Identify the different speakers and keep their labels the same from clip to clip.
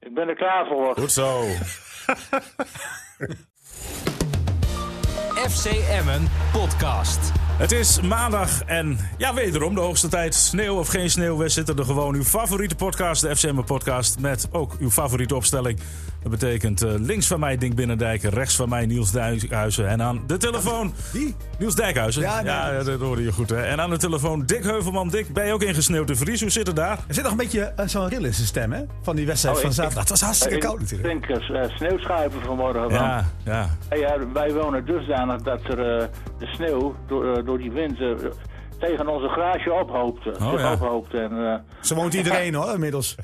Speaker 1: Ik ben er klaar voor.
Speaker 2: Goed zo.
Speaker 3: FC Emmen podcast.
Speaker 2: Het is maandag en ja, wederom de hoogste tijd. Sneeuw of geen sneeuw, we zitten er gewoon. Uw favoriete podcast, de FCM podcast, met ook uw favoriete opstelling. Dat betekent eh, links van mij Dink Binnendijk, rechts van mij Niels Dijkhuizen. En aan de telefoon...
Speaker 4: Wie?
Speaker 2: Niels Dijkhuizen.
Speaker 4: Ja, nee, dat-
Speaker 2: dat hoorde je goed. Hè? En aan de telefoon Dick Heuvelman. Dick, ben je ook ingesneeuwd de Vries? Hoe zit het daar?
Speaker 4: Er zit nog een beetje eh, zo'n ril in zijn stem, hè? Van die wedstrijd
Speaker 1: Oh,
Speaker 4: van
Speaker 1: ik-
Speaker 4: zaterdag. Het was hartstikke koud
Speaker 1: Ik
Speaker 4: natuurlijk.
Speaker 1: denk eh, sneeuwschuiven vanmorgen. want,
Speaker 2: Ja, ja.
Speaker 1: eh, ja, wij wonen dusdanig dat er eh, de sneeuw door, eh, door die wind eh, tegen onze garage ophoopte. zich
Speaker 2: Oh, ja.
Speaker 1: ophoopte. En, eh,
Speaker 4: Zo woont iedereen hoor, inmiddels.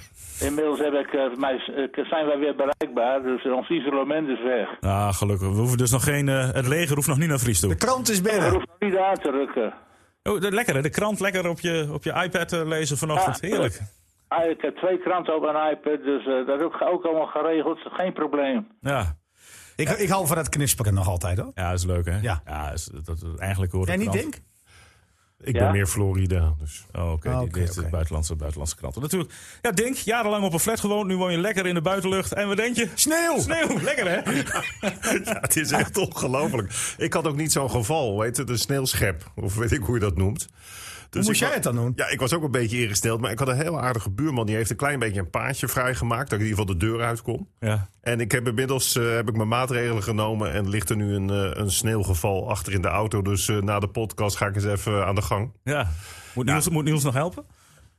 Speaker 1: inmiddels heb ik, eh, mij, eh, zijn wij weer bereikbaar, dus ons isolement is weg.
Speaker 2: Ah, gelukkig. We hoeven dus nog geen... eh, het leger hoeft nog niet naar Vries toe.
Speaker 4: De krant is
Speaker 1: Je
Speaker 4: binnen.
Speaker 1: hoeft nog niet aan te rukken.
Speaker 2: Oh, de- lekker hè? De krant lekker op je, op je iPad eh, lezen vanochtend.
Speaker 1: Ja.
Speaker 2: Heerlijk.
Speaker 1: Ah, ik heb twee kranten op een iPad, dus eh, dat is ook, ook allemaal geregeld. Geen probleem.
Speaker 2: Ja.
Speaker 4: Ik, ik hou van dat knisperen nog altijd hoor.
Speaker 2: Ja, dat is leuk, hè?
Speaker 4: Ja.
Speaker 2: is, dat, dat- eigenlijk hoort
Speaker 4: Jij
Speaker 2: het
Speaker 4: niet,
Speaker 2: krant-
Speaker 4: Dink?
Speaker 5: Ik
Speaker 1: Ja?
Speaker 5: ben meer Florida. Dus.
Speaker 2: Oh, oké.
Speaker 4: Ah,
Speaker 2: die-
Speaker 4: oké,
Speaker 2: dit is
Speaker 4: oké.
Speaker 2: de buitenlandse, buitenlandse kranten. Natuurlijk. Ja, Dink, jarenlang op een flat gewoond. Nu woon je lekker in de buitenlucht. En wat denk je?
Speaker 4: Sneeuw!
Speaker 2: Sneeuw, lekker hè?
Speaker 5: Ja, het is echt ongelooflijk. Ik had ook niet zo'n geval, weet het, een sneeuwschep. Of weet ik hoe je dat noemt. Dus
Speaker 4: moest
Speaker 5: ik
Speaker 4: jij
Speaker 5: wa-
Speaker 4: het dan doen?
Speaker 5: Ja, ik was ook een beetje ingesteld. Maar ik had een heel aardige buurman. Die heeft een klein beetje een paadje vrijgemaakt. Dat ik in ieder geval de deur uit kon.
Speaker 2: Ja.
Speaker 5: En ik heb inmiddels eh, heb ik mijn maatregelen genomen. En ligt er nu een, eh, een sneeuwgeval achter in de auto. Dus eh, na de podcast ga ik eens even aan de gang.
Speaker 2: ja. Moet, Niels, moet Niels nog helpen?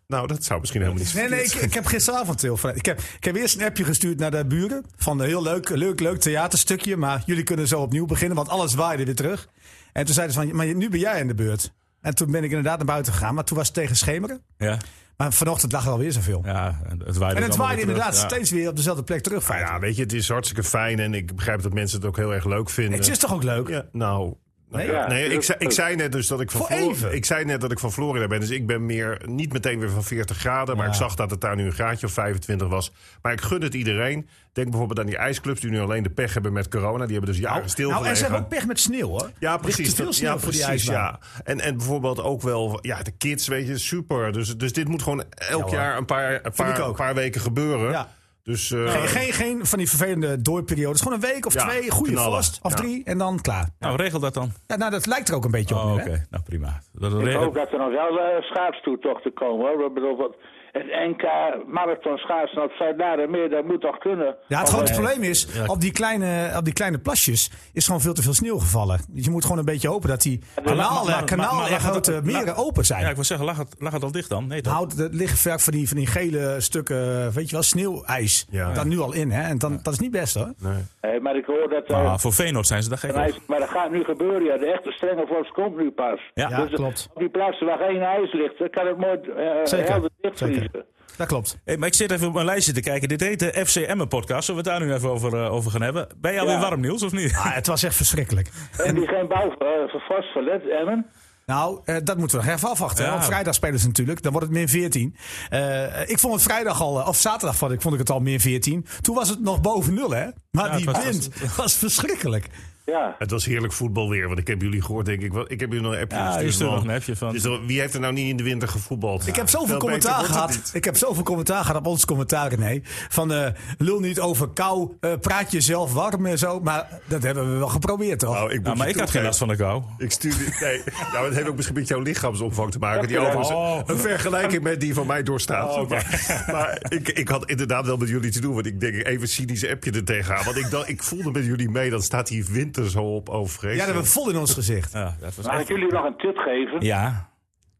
Speaker 5: Nou, dat zou misschien helemaal niet
Speaker 4: Nee, nee, ik, ik heb gisteravond heel vrij. Ik heb, ik heb eerst een appje gestuurd naar de buren. Van een heel leuk, leuk, leuk theaterstukje. Maar jullie kunnen zo opnieuw beginnen, want alles waaide weer terug. En toen zeiden ze van, maar nu ben jij aan de beurt. En toen ben ik inderdaad naar buiten gegaan. Maar toen was het tegen schemeren.
Speaker 2: Ja.
Speaker 4: Maar vanochtend lag er alweer zoveel.
Speaker 2: Ja, en het waaide, allemaal
Speaker 4: En het waaide
Speaker 2: weer terug.
Speaker 4: inderdaad
Speaker 2: Ja.
Speaker 4: steeds weer op dezelfde plek terug.
Speaker 5: Nou ja, weet je, het is hartstikke fijn. En ik begrijp dat mensen het ook heel erg leuk vinden.
Speaker 4: Het is toch ook leuk?
Speaker 5: Ja, nou. nou
Speaker 4: Nee?
Speaker 5: ja.
Speaker 1: Ja,
Speaker 5: nee, ik, zei, ik zei net dus dat ik van
Speaker 4: Voor
Speaker 5: Flor-
Speaker 4: even.
Speaker 5: Ik zei net dat ik van Florida ben. Dus ik ben meer niet meteen weer van 40 graden. Maar ik zag dat het daar nu een graadje of 25 was. Maar ik gun het iedereen. Denk bijvoorbeeld aan die ijsclubs die nu alleen de pech hebben met corona. Die hebben dus jaren stilgelegen.
Speaker 4: Nou, en ze hebben ook pech met sneeuw, hoor.
Speaker 5: Ja,
Speaker 4: Er is
Speaker 5: precies.
Speaker 4: te veel
Speaker 5: Dat-
Speaker 4: sneeuw
Speaker 5: ja,
Speaker 4: voor die
Speaker 5: precies,
Speaker 4: ijsbaan.
Speaker 5: ja. En, en bijvoorbeeld ook wel, ja, de kids, weet je, super. Dus, dus dit moet gewoon elk
Speaker 4: hoor.
Speaker 5: jaar een paar, een
Speaker 4: ik
Speaker 5: paar,
Speaker 4: ook.
Speaker 5: een paar weken gebeuren.
Speaker 4: Ja.
Speaker 5: Dus, eh,
Speaker 4: Geen, geen, geen van die vervelende doorperiodes. Gewoon een week of
Speaker 5: Ja,
Speaker 4: twee, goede
Speaker 5: knallen.
Speaker 4: vast. Of
Speaker 5: Ja.
Speaker 4: drie, en dan klaar.
Speaker 2: Nou, regel dat dan.
Speaker 4: Ja, nou, dat lijkt er ook een beetje op.
Speaker 2: Oh,
Speaker 4: nu,
Speaker 2: oké.
Speaker 4: hè?
Speaker 2: Nou, prima. Dat
Speaker 1: Ik
Speaker 2: regel-
Speaker 1: hoop dat er nog wel eh, schaatstoetochten komen. Hoor. Ik bedoel, wat- het NK marathon schaatsen op Zuid-Meer, dat moet toch kunnen?
Speaker 4: Ja, het grote
Speaker 1: Want, eh,
Speaker 4: probleem is, op die, kleine, op die kleine plasjes is gewoon veel te veel sneeuw gevallen. Dus je moet gewoon een beetje hopen dat die
Speaker 2: maar- maar-
Speaker 4: kanalen,
Speaker 2: maar-
Speaker 4: kanalen
Speaker 2: maar-
Speaker 4: en
Speaker 2: maar-
Speaker 4: grote
Speaker 2: maar-
Speaker 4: meren eh, open
Speaker 2: Ja, ik
Speaker 4: zijn.
Speaker 2: wil zeggen, lag het, lag het al dicht dan? Nee, toch?
Speaker 4: Houd, er liggen vaak van die, van die gele stukken, eh, weet je wel, sneeuwijs.
Speaker 5: Ja.
Speaker 4: Dan nu al in, hè. En dan, dat is niet best, hoor.
Speaker 1: nee, maar ik hoor dat... eh,
Speaker 2: Ah, voor Feyenoord zijn ze daar gek
Speaker 1: een
Speaker 2: op.
Speaker 1: ijs- maar dat gaat nu gebeuren, ja. De echte strenge vorst komt nu pas. Dus, eh,
Speaker 2: Ja,
Speaker 4: Ja, klopt.
Speaker 1: Op die plaatsen waar geen ijs ligt, dan kan het mooi eh,
Speaker 4: Zeker,
Speaker 1: helder dichtvriezen.
Speaker 4: zeker. Dat klopt.
Speaker 2: Hey, maar ik zit even op mijn lijstje te kijken. Dit heet de FC Emmen podcast. Zullen we het daar nu even over, eh, over gaan hebben? Ben je alweer
Speaker 1: Ja.
Speaker 2: warm, Niels, of niet?
Speaker 4: Ah, het was echt verschrikkelijk.
Speaker 1: En die geen bouw eh, vast verlet, Emmen.
Speaker 4: Nou, eh, dat moeten we nog even afwachten. hè.
Speaker 2: Ja.
Speaker 4: Want vrijdag spelen ze natuurlijk. Dan wordt het min 14. Eh, ik vond het vrijdag al, eh, of zaterdag vond ik, vond ik het al min 14. Toen was het nog boven nul, hè? Maar
Speaker 2: Ja,
Speaker 4: die
Speaker 2: het was-
Speaker 4: wind was, verschrikkelijk.
Speaker 1: Ja.
Speaker 5: Het was heerlijk voetbalweer, want ik heb jullie gehoord, denk ik. Wel, Ik heb jullie nog een appje
Speaker 2: Ja, je stuurde nog een appje van-
Speaker 5: Dus dan- wie heeft er nou niet in de winter gevoetbald?
Speaker 4: Ik heb zoveel
Speaker 5: Wel beter
Speaker 4: commentaar
Speaker 5: wordt het
Speaker 4: gehad.
Speaker 5: niet.
Speaker 4: Ik heb zoveel commentaar gehad op ons commentaar, nee. Van eh, lul niet over kou, eh, praat jezelf warm en zo. Maar dat hebben we wel geprobeerd, toch?
Speaker 5: Nou, ik moet
Speaker 2: Nou, maar
Speaker 5: je
Speaker 2: ik had geen
Speaker 5: toegeven.
Speaker 2: last van de kou.
Speaker 5: Ik stuurde. Nee, nou, het heeft ook misschien met jouw lichaamsomvang te maken. Die
Speaker 1: Ja,
Speaker 5: overigens
Speaker 2: oh.
Speaker 5: een vergelijking met die van mij doorstaat.
Speaker 2: oké.
Speaker 5: Maar, maar ik, ik had inderdaad wel met jullie te doen. Want ik denk even een cynisch appje er tegenaan. Want ik, dacht, ik voelde met jullie mee. Dan staat die winter zo op. Oh,
Speaker 4: ja, dat
Speaker 5: vreselijk.
Speaker 4: hebben we vol in ons gezicht.
Speaker 2: Ja, dat was
Speaker 1: Mag ik
Speaker 2: echt...
Speaker 1: jullie nog een tip geven?
Speaker 2: Ja.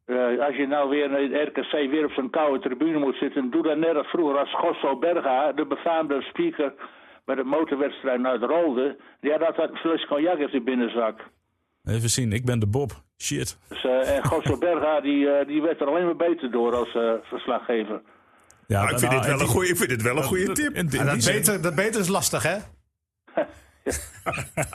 Speaker 1: Eh, als je nou weer in het RKC weer op zo'n koude tribune moet zitten, doe dat net als vroeger als Gosso Berga, de befaamde speaker bij de motorwedstrijd uit Rolde, die had altijd een flesje cognac in zijn binnenzak.
Speaker 2: Even zien, ik ben de Bob. Shit.
Speaker 1: Dus, eh, en Gosso Berga die, eh, die werd er alleen maar beter door als eh, verslaggever.
Speaker 2: Ja,
Speaker 5: Maar ik, vind
Speaker 2: nou,
Speaker 5: dit wel
Speaker 2: die-
Speaker 5: een goeie, ik vind dit wel een goede
Speaker 2: dat-
Speaker 5: tip.
Speaker 2: en die-
Speaker 4: Ja, Ah, dat,
Speaker 2: die-
Speaker 4: beter, dat beter is lastig, hè?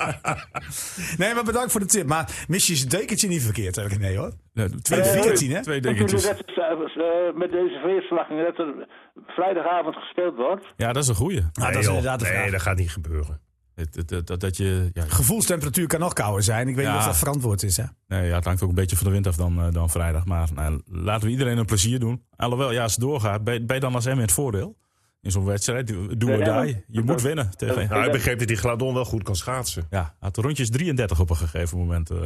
Speaker 4: nee, maar bedankt voor de tip. Maar mis je zijn dekentje niet verkeerd, heb ik nee hoor.
Speaker 2: Ja, Twee,
Speaker 4: Eh,
Speaker 2: twee-
Speaker 4: 14, hè?
Speaker 2: twee
Speaker 1: Dat jullie
Speaker 2: dingetjes.
Speaker 1: net als, eh, eh, met deze veerslaging dat er vrijdagavond gespeeld wordt.
Speaker 2: Ja, dat is een goeie.
Speaker 4: Nou, dat is
Speaker 5: joh,
Speaker 4: inderdaad de vraag.
Speaker 5: nee, dat gaat niet gebeuren.
Speaker 2: Het- het- het- Dat, dat je... Ja,
Speaker 4: Gevoelstemperatuur kan nog kouder zijn. Ik weet
Speaker 2: Ja.
Speaker 4: niet of dat verantwoord is, hè?
Speaker 2: nee, ja, het hangt ook een beetje van de wind af dan, eh, dan vrijdag. Maar nou, laten we iedereen een plezier doen. Alhoewel, ja, als het doorgaat, ben ben je dan als M in het voordeel? in zo'n wedstrijd. Doe doe
Speaker 1: Ja,
Speaker 2: or
Speaker 1: ja,
Speaker 2: die. Je moet winnen tegen...
Speaker 5: Nou, hij begreep dat die Gladon wel goed kan schaatsen.
Speaker 2: Ja, had de rondjes 33 op een gegeven moment. eh.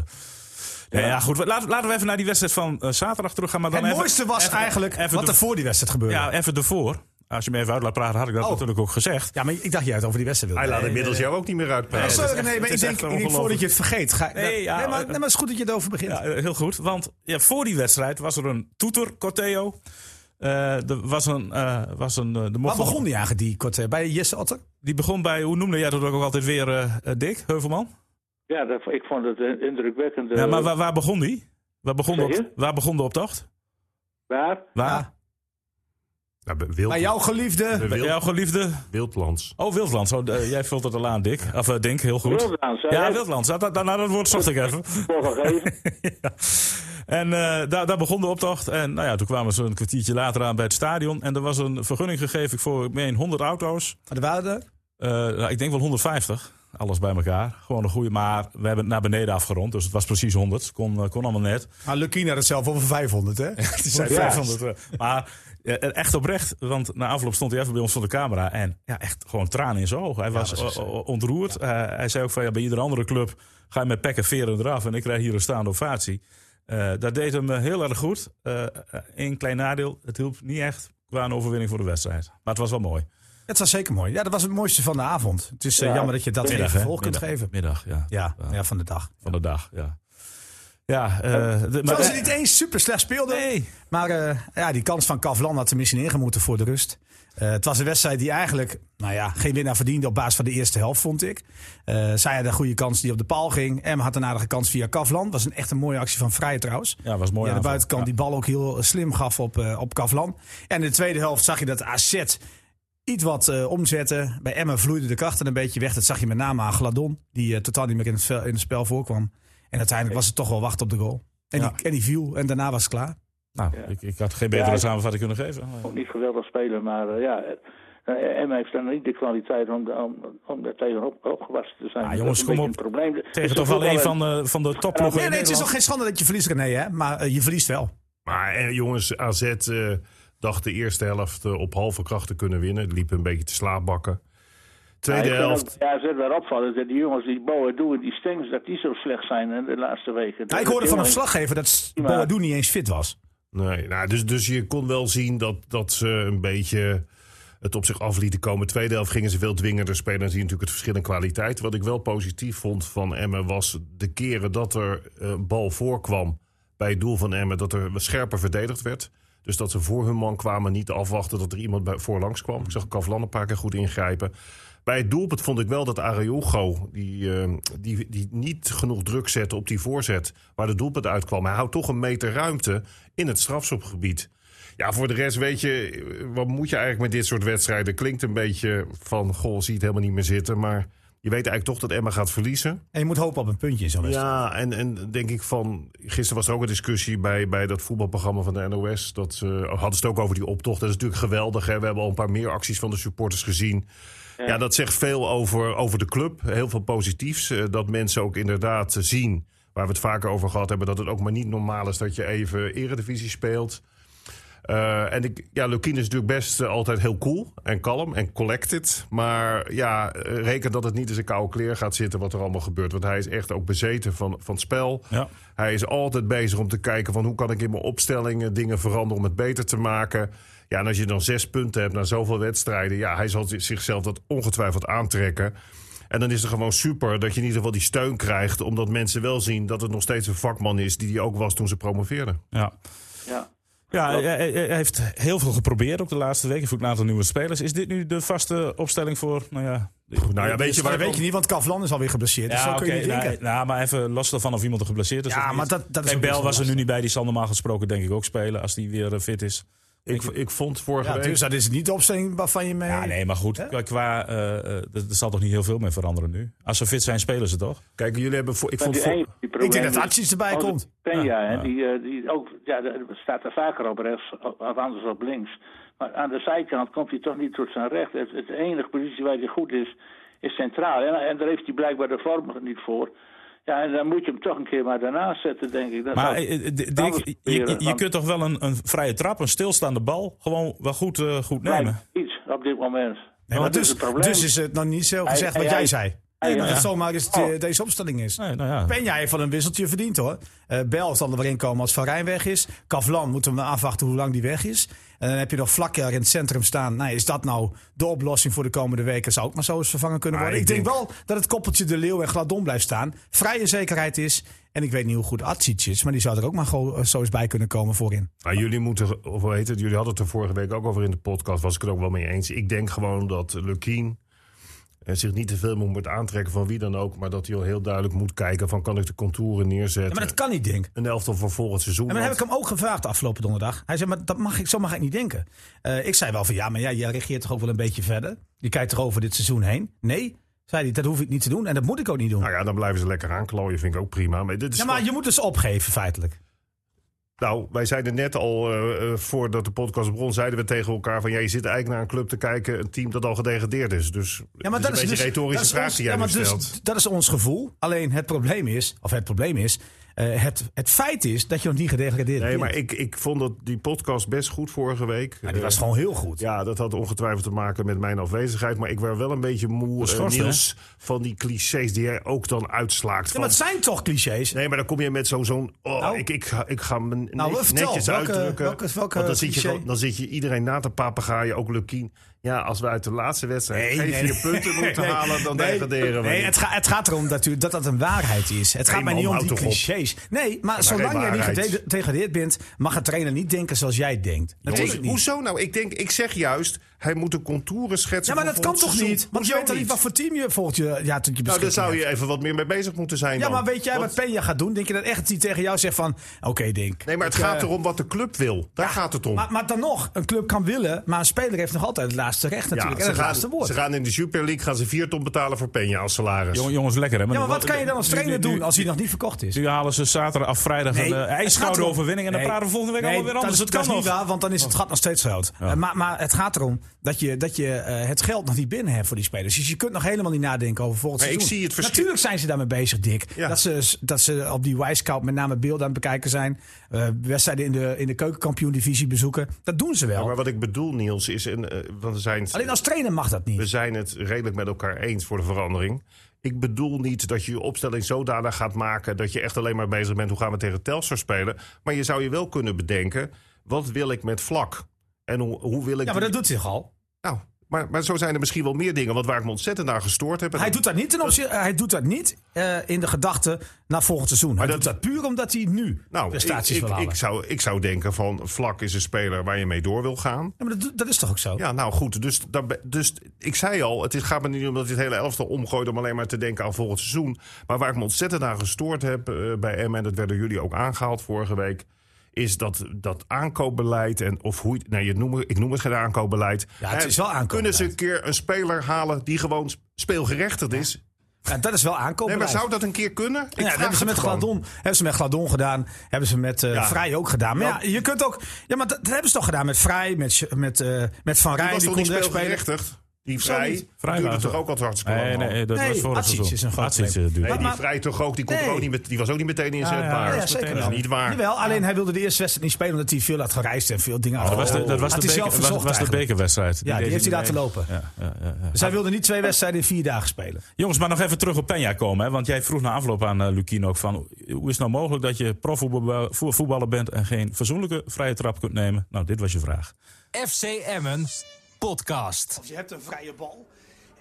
Speaker 2: Nee, ja. goed. we- Laten, laten we even naar die wedstrijd van eh, zaterdag terug gaan. Maar dan
Speaker 4: Het
Speaker 2: even-
Speaker 4: mooiste was
Speaker 2: even-
Speaker 4: eigenlijk
Speaker 2: even
Speaker 4: wat
Speaker 2: de-
Speaker 4: er voor die wedstrijd gebeurde.
Speaker 2: Ja, e-
Speaker 4: Ja,
Speaker 2: even ervoor. Als je me even uit laat praten, had ik dat
Speaker 4: Oh.
Speaker 2: natuurlijk ook gezegd.
Speaker 4: maar ik dacht jij het over die wedstrijd
Speaker 5: Hij
Speaker 4: wilde.
Speaker 5: laat inmiddels jou ook niet meer
Speaker 4: Nee,
Speaker 5: uitpraten.
Speaker 4: sorry,
Speaker 2: echt-
Speaker 4: nee,
Speaker 2: het
Speaker 4: maar
Speaker 2: is
Speaker 4: ik denk,
Speaker 2: echt
Speaker 4: ik denk voordat je het vergeet. Ga,
Speaker 2: Nee, ja,
Speaker 4: nee,
Speaker 2: eh,
Speaker 4: maar, nee, maar het is goed dat je erover begint.
Speaker 2: Ja, eh, heel goed. Want ja, voor die wedstrijd was er een toeter, Corteo. Eh, er was een... eh, was een eh, de
Speaker 4: Waar
Speaker 2: mocht-
Speaker 4: begon die eigenlijk, die korte? Bij Jesse Otter?
Speaker 2: Die begon bij, hoe noemde jij dat ook altijd weer, eh, eh, Dick Heuvelman?
Speaker 1: Ja, dat, ik vond het een indrukwekkende.
Speaker 2: ja, maar waar, waar begon die? Waar begon,
Speaker 1: Eh. Zeg je?
Speaker 2: de, waar begon de optocht?
Speaker 1: Waar?
Speaker 2: Waar?
Speaker 4: Ja.
Speaker 5: Nou, bij Wild-
Speaker 4: Bij jouw geliefde.
Speaker 5: bij Wild-
Speaker 2: Jouw geliefde...
Speaker 5: Wildlands.
Speaker 2: Oh, Wildland. Zo, eh, jij vult het al aan, Dick. Of eh, Dink, heel goed.
Speaker 1: Wildlands, hè?
Speaker 2: Ja, Wildland. Dat, dat, nou, dat woord zocht ik even.
Speaker 1: Voorgegeven.
Speaker 2: Ja. En eh, daar, daar begon de optocht. En nou ja, toen kwamen ze een kwartiertje later aan bij het stadion. En er was een vergunning gegeven voor, ik meen, 100 auto's.
Speaker 4: Maar er waren er.
Speaker 2: Eh, nou, ik denk wel 150. Alles bij elkaar. Gewoon een goede. Maar we hebben het naar beneden afgerond. Dus het was precies 100. Kon, eh, kon allemaal net.
Speaker 4: Maar Lukina had het zelf over 500, hè?
Speaker 2: Die zei
Speaker 1: Ja.
Speaker 2: 500. eh, Maar eh, echt oprecht, want na afloop stond hij even bij ons voor de camera. En ja, echt gewoon tranen in zijn ogen. Hij was
Speaker 4: dat is,
Speaker 2: o- o- ontroerd. Eh, hij zei ook van, ja, bij iedere andere club ga je met pek en veren eraf. En ik krijg hier een staande ovatie. Eh, dat deed hem eh, heel erg goed. Eén klein nadeel, het hielp niet echt qua een overwinning voor de wedstrijd. Maar het was wel mooi.
Speaker 4: Het was zeker mooi. Ja, dat was het mooiste van de avond. Het is eh,
Speaker 1: Ja.
Speaker 4: jammer dat je dat geen
Speaker 2: hè?
Speaker 4: vervolg kunt
Speaker 2: Middag.
Speaker 4: geven.
Speaker 2: Middag, ja.
Speaker 4: Ja, ja, van de dag.
Speaker 2: Van de dag, ja. Ja, eh, de-
Speaker 4: Maar
Speaker 2: maar...
Speaker 4: ze niet eens super slecht speelden.
Speaker 2: Nee.
Speaker 4: Maar eh, ja, die kans van Kavlan had er misschien ingemoeten voor de rust. Eh, het was een wedstrijd die eigenlijk nou ja, geen winnaar verdiende op basis van de eerste helft, vond ik. Eh zij had een goede kans die op de paal ging. Em had een aardige kans via Kavlan. Was een echt een mooie actie van Vrij trouwens.
Speaker 2: Ja, was een mooie
Speaker 4: Die aan de
Speaker 2: aanval.
Speaker 4: buitenkant
Speaker 2: Ja.
Speaker 4: die bal ook heel slim gaf op, eh, op Kavlan. En in de tweede helft zag je dat AZ iets wat eh, omzetten. Bij Emmen vloeiden de krachten een beetje weg. Dat zag je met name aan Gladon, die eh, totaal niet meer in het, vel- in het spel voorkwam. En uiteindelijk was het toch wel wachten op de goal. En,
Speaker 2: Ja.
Speaker 4: die, en die viel en daarna was het klaar.
Speaker 2: Nou, ik, ik had geen betere
Speaker 1: Ja, ik-
Speaker 2: samenvatting kunnen geven.
Speaker 1: Ook niet geweldig spelen, maar eh, ja. eh, Emma heeft dan niet de kwaliteit om, om, om daar tegenop opgewassen te zijn.
Speaker 2: Ah,
Speaker 1: Dat
Speaker 2: jongens,
Speaker 1: is een
Speaker 2: kom
Speaker 1: beetje
Speaker 2: op.
Speaker 1: Een probleem. Is
Speaker 2: Tegen
Speaker 1: de
Speaker 2: toch wel een
Speaker 1: voetballer-
Speaker 2: van, eh, van de topploegen
Speaker 4: Nee,
Speaker 2: in
Speaker 4: nee, het is
Speaker 2: Nederland.
Speaker 4: toch geen schande dat je verliest, René, hè? Maar eh, je verliest wel.
Speaker 5: Maar eh, jongens, AZ eh, dacht de eerste helft eh, op halve kracht te kunnen winnen. Liep een beetje te slaapbakken.
Speaker 1: Ja,
Speaker 5: Tweede
Speaker 1: ik vind
Speaker 5: helft.
Speaker 1: ook- Ja, ze weer opvallen dat die jongens die bouwen doen, die stings, dat die zo slecht zijn eh, de laatste weken.
Speaker 4: Nou, ik hoorde van een verslaggever dat
Speaker 1: Ja.
Speaker 4: Boadu niet eens fit was.
Speaker 5: Nee, nou, dus, dus je kon wel zien dat, dat ze een beetje het op zich af lieten komen. Tweede helft gingen ze veel dwingender spelen. Dan zie je natuurlijk het verschil in kwaliteit. Wat ik wel positief vond van Emmen was de keren dat er eh, een bal voorkwam bij het doel van Emmen. Dat er scherper verdedigd werd. Dus dat ze voor hun man kwamen, niet afwachten dat er iemand bij, voorlangs kwam. Ik zag Kavlan een paar keer goed ingrijpen. Bij het doelpunt vond ik wel dat Araujo, die, eh, die, die niet genoeg druk zette op die voorzet... waar de doelpunt uitkwam. Hij houdt toch een meter ruimte in het strafschopgebied. Ja, voor de rest weet je, eh, wat moet je eigenlijk met dit soort wedstrijden? Klinkt een beetje van, goh, zie het helemaal niet meer zitten. Maar je weet eigenlijk toch dat Emma gaat verliezen.
Speaker 4: En je moet hopen op een puntje in zo'n wedstrijd.
Speaker 5: Ja, en, en denk ik van. Gisteren was er ook een discussie bij, bij dat voetbalprogramma van de NOS. Dat eh, hadden ze het ook over die optocht. Dat is natuurlijk geweldig. Hè? We hebben al een paar meer acties van de supporters gezien. Ja, dat zegt veel over, over de club. Heel veel positiefs. eh, dat mensen ook inderdaad eh, zien. Waar we het vaker over gehad hebben. Dat het ook maar niet normaal is dat je even eredivisie speelt. Eh, en ik, ja, Lukien is natuurlijk best eh, altijd heel cool en kalm en collected. Maar ja, eh, reken dat het niet in zijn koude kleer gaat zitten wat er allemaal gebeurt. Want hij is echt ook bezeten van, van het spel.
Speaker 2: Ja.
Speaker 5: Hij is altijd bezig om te kijken van hoe kan ik in mijn opstellingen dingen veranderen om het beter te maken. Ja, en als je dan zes punten hebt na zoveel wedstrijden, ja, hij zal zi- zichzelf dat ongetwijfeld aantrekken. En dan is het gewoon super dat je in ieder geval die steun krijgt, omdat mensen wel zien dat het nog steeds een vakman is die die ook was toen ze promoveerden.
Speaker 2: Ja.
Speaker 1: Ja.
Speaker 2: Ja, hij, hij- hij heeft heel veel geprobeerd ook de laatste weken. Voor een aantal nieuwe spelers. Is dit nu de vaste opstelling voor. Nou ja,
Speaker 5: Nou ja, weet je
Speaker 4: Dus, Maar
Speaker 5: waar
Speaker 4: dat weet je niet, want Kavlan is alweer geblesseerd. dus zo kun je
Speaker 2: oké,
Speaker 4: niet denken.
Speaker 2: nou, nou, maar even los ervan of iemand er geblesseerd is.
Speaker 4: Ja,
Speaker 2: of niet.
Speaker 4: maar dat- dat is
Speaker 2: Kijk,
Speaker 4: ook
Speaker 2: Bel
Speaker 4: best
Speaker 2: was er nu
Speaker 4: lastig.
Speaker 2: niet bij. Die zal normaal gesproken, denk ik, ook spelen. Als die weer eh, fit is.
Speaker 5: Ik, ik vond vorige
Speaker 4: Ja,
Speaker 5: week.
Speaker 4: dus dat is niet de opstelling waarvan je mee...
Speaker 2: Ja, nee, maar goed. Qua, qua, eh, eh, er er zal toch niet heel veel meer veranderen nu. Als ze fit zijn, spelen ze toch?
Speaker 5: Kijk, jullie hebben. Voor, ik
Speaker 1: Want
Speaker 5: vond
Speaker 1: die
Speaker 5: voor-
Speaker 1: een van die problemen
Speaker 4: dat
Speaker 1: is-
Speaker 4: Atjes erbij
Speaker 1: Oh, dat-
Speaker 4: komt.
Speaker 1: Peña, hè,
Speaker 2: ja.
Speaker 1: die, eh, die ook, ja, daar staat er vaker op rechts, of anders op links. Maar aan de zijkant komt hij toch niet tot zijn recht. Het, het enige positie waar hij goed is, is centraal. En, en daar heeft hij blijkbaar de vorm niet voor. Ja, en dan moet je hem toch een keer maar daarnaast zetten, denk ik. Dat
Speaker 2: Maar
Speaker 1: zou-
Speaker 2: eh, eh, D- Dick,
Speaker 1: anders
Speaker 2: je,
Speaker 1: proberen,
Speaker 2: je- je
Speaker 1: want-
Speaker 2: kunt toch wel een, een vrije trap, een stilstaande bal. gewoon wel goed, eh, goed nemen.
Speaker 1: Iets. Of op dit moment.
Speaker 4: Nee, maar
Speaker 1: Want dat
Speaker 4: dus,
Speaker 1: is het probleem.
Speaker 4: dus is het nog niet zo gezegd
Speaker 1: Hij-
Speaker 4: wat
Speaker 1: hij-
Speaker 4: jij zei.
Speaker 1: hij-
Speaker 4: Nee, dat
Speaker 1: ja. Oh.
Speaker 4: het zomaar is het, eh, deze opstelling is.
Speaker 2: Nee, nou ja.
Speaker 4: Penja heeft wel een wisseltje verdiend hoor. Eh Bel zal er weer in komen als Van Rijn weg is. Kavlan moeten we maar afwachten hoe lang die weg is. En dan heb je nog Vlakker in het centrum staan. Nou, is dat nou de oplossing voor de komende weken? Zou ook maar zo eens vervangen kunnen
Speaker 5: Maar
Speaker 4: worden. Ik
Speaker 5: ik
Speaker 4: denk
Speaker 5: denk-
Speaker 4: wel dat het koppeltje De Leeuw en Gladon blijft staan. Vrije zekerheid is. En ik weet niet hoe goed Atsic is. Maar die zou er ook maar go- zo eens bij kunnen komen voorin.
Speaker 5: Maar jullie moeten, of hoe heet het, jullie hadden het er vorige week ook over in de podcast, was ik het ook wel mee eens. Ik denk gewoon dat Lukien eh, zich niet te veel meer moet aantrekken van wie dan ook, maar dat hij al heel duidelijk moet kijken van kan ik de contouren
Speaker 4: Ja,
Speaker 5: neerzetten.
Speaker 4: maar dat kan niet, denk
Speaker 5: Een elftal voor volgend seizoen.
Speaker 4: En dan heb ik
Speaker 5: want-
Speaker 4: hem ook gevraagd afgelopen donderdag. Hij zei, maar dat mag ik, zo mag ik niet denken. Eh, ik zei wel van, ja, maar ja, jij regeert toch ook wel een beetje verder? Je kijkt toch over dit seizoen heen? Nee, zei hij, dat hoef ik niet te doen en dat moet ik ook niet doen.
Speaker 5: Nou ja, dan blijven ze lekker aanklooien, vind ik ook prima. Maar dit is
Speaker 4: ja, maar
Speaker 5: gewoon-
Speaker 4: je moet dus opgeven, feitelijk.
Speaker 5: Nou, wij zeiden net al, eh, eh, voordat de podcast begon, zeiden we tegen elkaar van... ja, je zit eigenlijk naar een club te kijken, een team dat al gedegradeerd is. Dus
Speaker 4: Ja,
Speaker 5: het een beetje
Speaker 4: dus-
Speaker 5: een retorische
Speaker 4: dat is
Speaker 5: vraag
Speaker 4: ons-
Speaker 5: die jij
Speaker 4: ja,
Speaker 5: nu
Speaker 4: maar dus
Speaker 5: stelt.
Speaker 4: Dat is ons gevoel. Alleen het probleem is, of het probleem is, eh, het, het feit is dat je nog niet gedegradeerd
Speaker 5: Nee,
Speaker 4: bent.
Speaker 5: maar ik, ik vond dat die podcast best goed vorige week.
Speaker 4: Ja, die was
Speaker 5: Eh,
Speaker 4: gewoon heel goed.
Speaker 5: Ja, dat had ongetwijfeld te maken met mijn afwezigheid. Maar ik werd wel een beetje moe, eh,
Speaker 2: schorsen,
Speaker 5: Niels, van die clichés die jij ook dan uitslaakt.
Speaker 4: Ja,
Speaker 5: Van,
Speaker 4: maar het zijn toch clichés?
Speaker 5: Nee, maar dan kom je met zo'n... zo'n oh,
Speaker 4: Nou.
Speaker 5: ik, ik, ga- ik ga me net-
Speaker 4: Nou,
Speaker 5: netjes
Speaker 4: vertel, welke-
Speaker 5: uitdrukken.
Speaker 4: welke- welke
Speaker 5: Want dan zit, je,
Speaker 4: cliché?
Speaker 5: gewoon- dan zit je iedereen na te papegaaien, ook Lukien. Ja, als we uit de laatste wedstrijd
Speaker 4: Nee,
Speaker 5: even
Speaker 4: nee,
Speaker 5: je punten moeten
Speaker 4: Nee,
Speaker 5: halen... dan
Speaker 4: nee,
Speaker 5: degraderen we.
Speaker 4: Nee,
Speaker 5: niet.
Speaker 4: het, ga- het gaat erom dat, u, dat dat een waarheid is. Het gaat
Speaker 5: Nee,
Speaker 4: mij
Speaker 5: man,
Speaker 4: niet om
Speaker 5: houd
Speaker 4: die
Speaker 5: toch op.
Speaker 4: clichés. Nee, maar zolang
Speaker 5: geen
Speaker 4: jij niet
Speaker 5: waarheid.
Speaker 4: gedede- gedegradeerd bent, mag een trainer niet denken zoals jij denkt.
Speaker 5: Nee,
Speaker 4: Natuurlijk niet.
Speaker 5: hoezo nou? Ik, denk, ik zeg juist, hij moet de contouren schetsen.
Speaker 4: Ja, maar
Speaker 5: voor
Speaker 4: dat kan
Speaker 5: volgend
Speaker 4: toch
Speaker 5: seizoen.
Speaker 4: niet? Want je
Speaker 5: Hoezo
Speaker 4: weet dan niet wat voor team je volgt je, ja, tot je
Speaker 5: Nou, daar
Speaker 4: beschikking
Speaker 5: zou
Speaker 4: hebt.
Speaker 5: je even wat meer mee bezig moeten zijn
Speaker 4: Ja,
Speaker 5: dan.
Speaker 4: maar weet jij
Speaker 5: Want-
Speaker 4: wat Penja gaat doen? Denk je dat echt die tegen jou zegt van... Oké, Dink.
Speaker 5: Nee, maar het
Speaker 4: ik,
Speaker 5: gaat
Speaker 4: eh,
Speaker 5: erom wat de club wil. Daar gaat het om.
Speaker 4: Maar, maar dan nog, een club kan willen, maar een speler heeft nog altijd het laatste recht natuurlijk. en
Speaker 5: ze,
Speaker 4: het
Speaker 5: gaan,
Speaker 4: laatste woord.
Speaker 5: ze gaan in de Super League gaan ze vier ton betalen voor Peña als salaris.
Speaker 2: Jong- jongens, lekker hè?
Speaker 4: ja, maar wat kan je dan als
Speaker 2: nu-
Speaker 4: trainer
Speaker 2: nu- nu-
Speaker 4: doen als hij nog niet verkocht is?
Speaker 2: Nu halen ze zaterdag of vrijdag
Speaker 4: Nee,
Speaker 2: een eh,
Speaker 4: het gaat
Speaker 2: ijskoude
Speaker 4: erom-
Speaker 2: overwinning. En dan
Speaker 4: Nee,
Speaker 2: praten we volgende week
Speaker 4: nee,
Speaker 2: allemaal weer anders.
Speaker 4: Dat,
Speaker 2: Dat, kan
Speaker 4: dat is
Speaker 2: nog.
Speaker 4: niet waar, want dan is het gat nog steeds groot. Eh, maar, maar het gaat erom dat je, dat je eh, het geld nog niet binnen hebt voor die spelers. Dus je kunt nog helemaal niet nadenken over volgend
Speaker 5: Maar ik
Speaker 4: seizoen.
Speaker 5: zie het verschil-
Speaker 4: Natuurlijk zijn ze daarmee bezig, Dick.
Speaker 5: Ja.
Speaker 4: Dat, ze, dat ze op die Wisecout met name beelden aan het bekijken zijn. eh, wedstrijden in de, in de keukenkampioen-divisie bezoeken. Dat doen ze wel.
Speaker 5: Ja, maar wat ik bedoel, Niels, is... En, eh, want we zijn,
Speaker 4: Alleen als trainer mag dat niet.
Speaker 5: we zijn het redelijk met elkaar eens voor de verandering. Ik bedoel niet dat je je opstelling zodanig gaat maken... dat je echt alleen maar bezig bent hoe gaan we tegen Telstar spelen. Maar je zou je wel kunnen bedenken... wat wil ik met vlak? En hoe, hoe wil ik...
Speaker 4: ja, maar dat doet hij toch al?
Speaker 5: nou, maar, maar zo zijn er misschien wel meer dingen... want waar ik me ontzettend naar gestoord heb... en
Speaker 4: Hij
Speaker 5: dat-
Speaker 4: doet dat niet, ten opzichte, hij doet dat niet eh, in de gedachte naar volgend seizoen. Hij
Speaker 5: dat-
Speaker 4: doet dat puur omdat hij nu
Speaker 5: nou, ik,
Speaker 4: prestaties wil
Speaker 5: ik,
Speaker 4: halen.
Speaker 5: ik, zou, ik zou denken van... vlak is een speler waar je mee door wil gaan...
Speaker 4: Ja, maar dat, dat is toch ook zo?
Speaker 5: Ja, nou goed. Dus, daar be- dus ik zei al, het is, gaat me niet om dat dit hele elftal omgooit... om alleen maar te denken aan volgend seizoen. Maar waar ik me ontzettend aan gestoord heb eh, bij Emmen... en dat werden jullie ook aangehaald vorige week... is dat, dat aankoopbeleid, en, of hoe, je- nee, je het noemt, ik noem het geen aankoopbeleid.
Speaker 4: Ja, het
Speaker 5: Eh,
Speaker 4: is wel
Speaker 5: Kunnen ze een
Speaker 4: aankoopbeleid.
Speaker 5: keer een speler halen die gewoon speelgerechtigd is?
Speaker 4: Ja, dat is wel aankomen.
Speaker 5: Nee, maar zou dat een keer kunnen? Ik
Speaker 4: ja,
Speaker 5: vraag
Speaker 4: dat hebben ze,
Speaker 5: het
Speaker 4: met
Speaker 5: gewoon.
Speaker 4: Gladon, hebben ze met Gladon gedaan. Hebben ze met eh
Speaker 5: Ja.
Speaker 4: Vrij ook gedaan. Maar ja, je kunt ook. Ja, maar dat, dat hebben ze toch gedaan met Vrij, met, Sch- met, eh, met Van
Speaker 5: Die
Speaker 4: Rij.
Speaker 5: was
Speaker 4: Die
Speaker 5: toch
Speaker 4: kon
Speaker 5: niet
Speaker 4: rechts spelen.
Speaker 5: speelgerechtigd? Die
Speaker 4: Zo
Speaker 5: vrij,
Speaker 4: niet.
Speaker 2: Vrij
Speaker 5: duurde
Speaker 2: was
Speaker 5: toch
Speaker 2: het.
Speaker 5: ook al hartstikke lang?
Speaker 2: Nee, nee, dat was
Speaker 4: Nee,
Speaker 2: vorig
Speaker 4: Atsic
Speaker 2: seizoen.
Speaker 4: is een groot
Speaker 2: Atsic,
Speaker 4: probleem.
Speaker 2: eh, duurt.
Speaker 5: Nee, die
Speaker 4: maar-
Speaker 5: vrij toch ook, die, kon
Speaker 4: Nee.
Speaker 5: toch ook niet met, die was ook niet meteen inzetbaar.
Speaker 4: Ja,
Speaker 2: dat
Speaker 4: ja,
Speaker 2: is
Speaker 4: zeker
Speaker 2: meteen
Speaker 4: wel.
Speaker 2: al.
Speaker 5: Niet waar.
Speaker 4: Jawel, alleen hij wilde de eerste wedstrijd niet spelen omdat hij veel had gereisd en veel dingen
Speaker 2: Oh. Dat was de, dat was de,
Speaker 4: Had hij
Speaker 2: beker-
Speaker 4: zelf
Speaker 2: was-
Speaker 4: verzocht
Speaker 2: was de
Speaker 4: eigenlijk.
Speaker 2: bekerwedstrijd.
Speaker 4: Ja, die
Speaker 2: deed
Speaker 4: heeft hij
Speaker 2: niet
Speaker 4: laten
Speaker 2: mee.
Speaker 4: lopen.
Speaker 2: Ja, ja, ja, ja.
Speaker 4: Dus hij wilde niet twee wedstrijden in vier dagen spelen.
Speaker 2: Jongens, maar nog even terug op Peña komen. Hè? Want jij vroeg na afloop aan eh, Lukien ook van... hoe is het nou mogelijk dat je profvoetballer bent... en geen verzoenlijke vrije trap kunt nemen? Nou, dit was je vraag.
Speaker 3: FC Emmen podcast.
Speaker 4: Je hebt een vrije bal.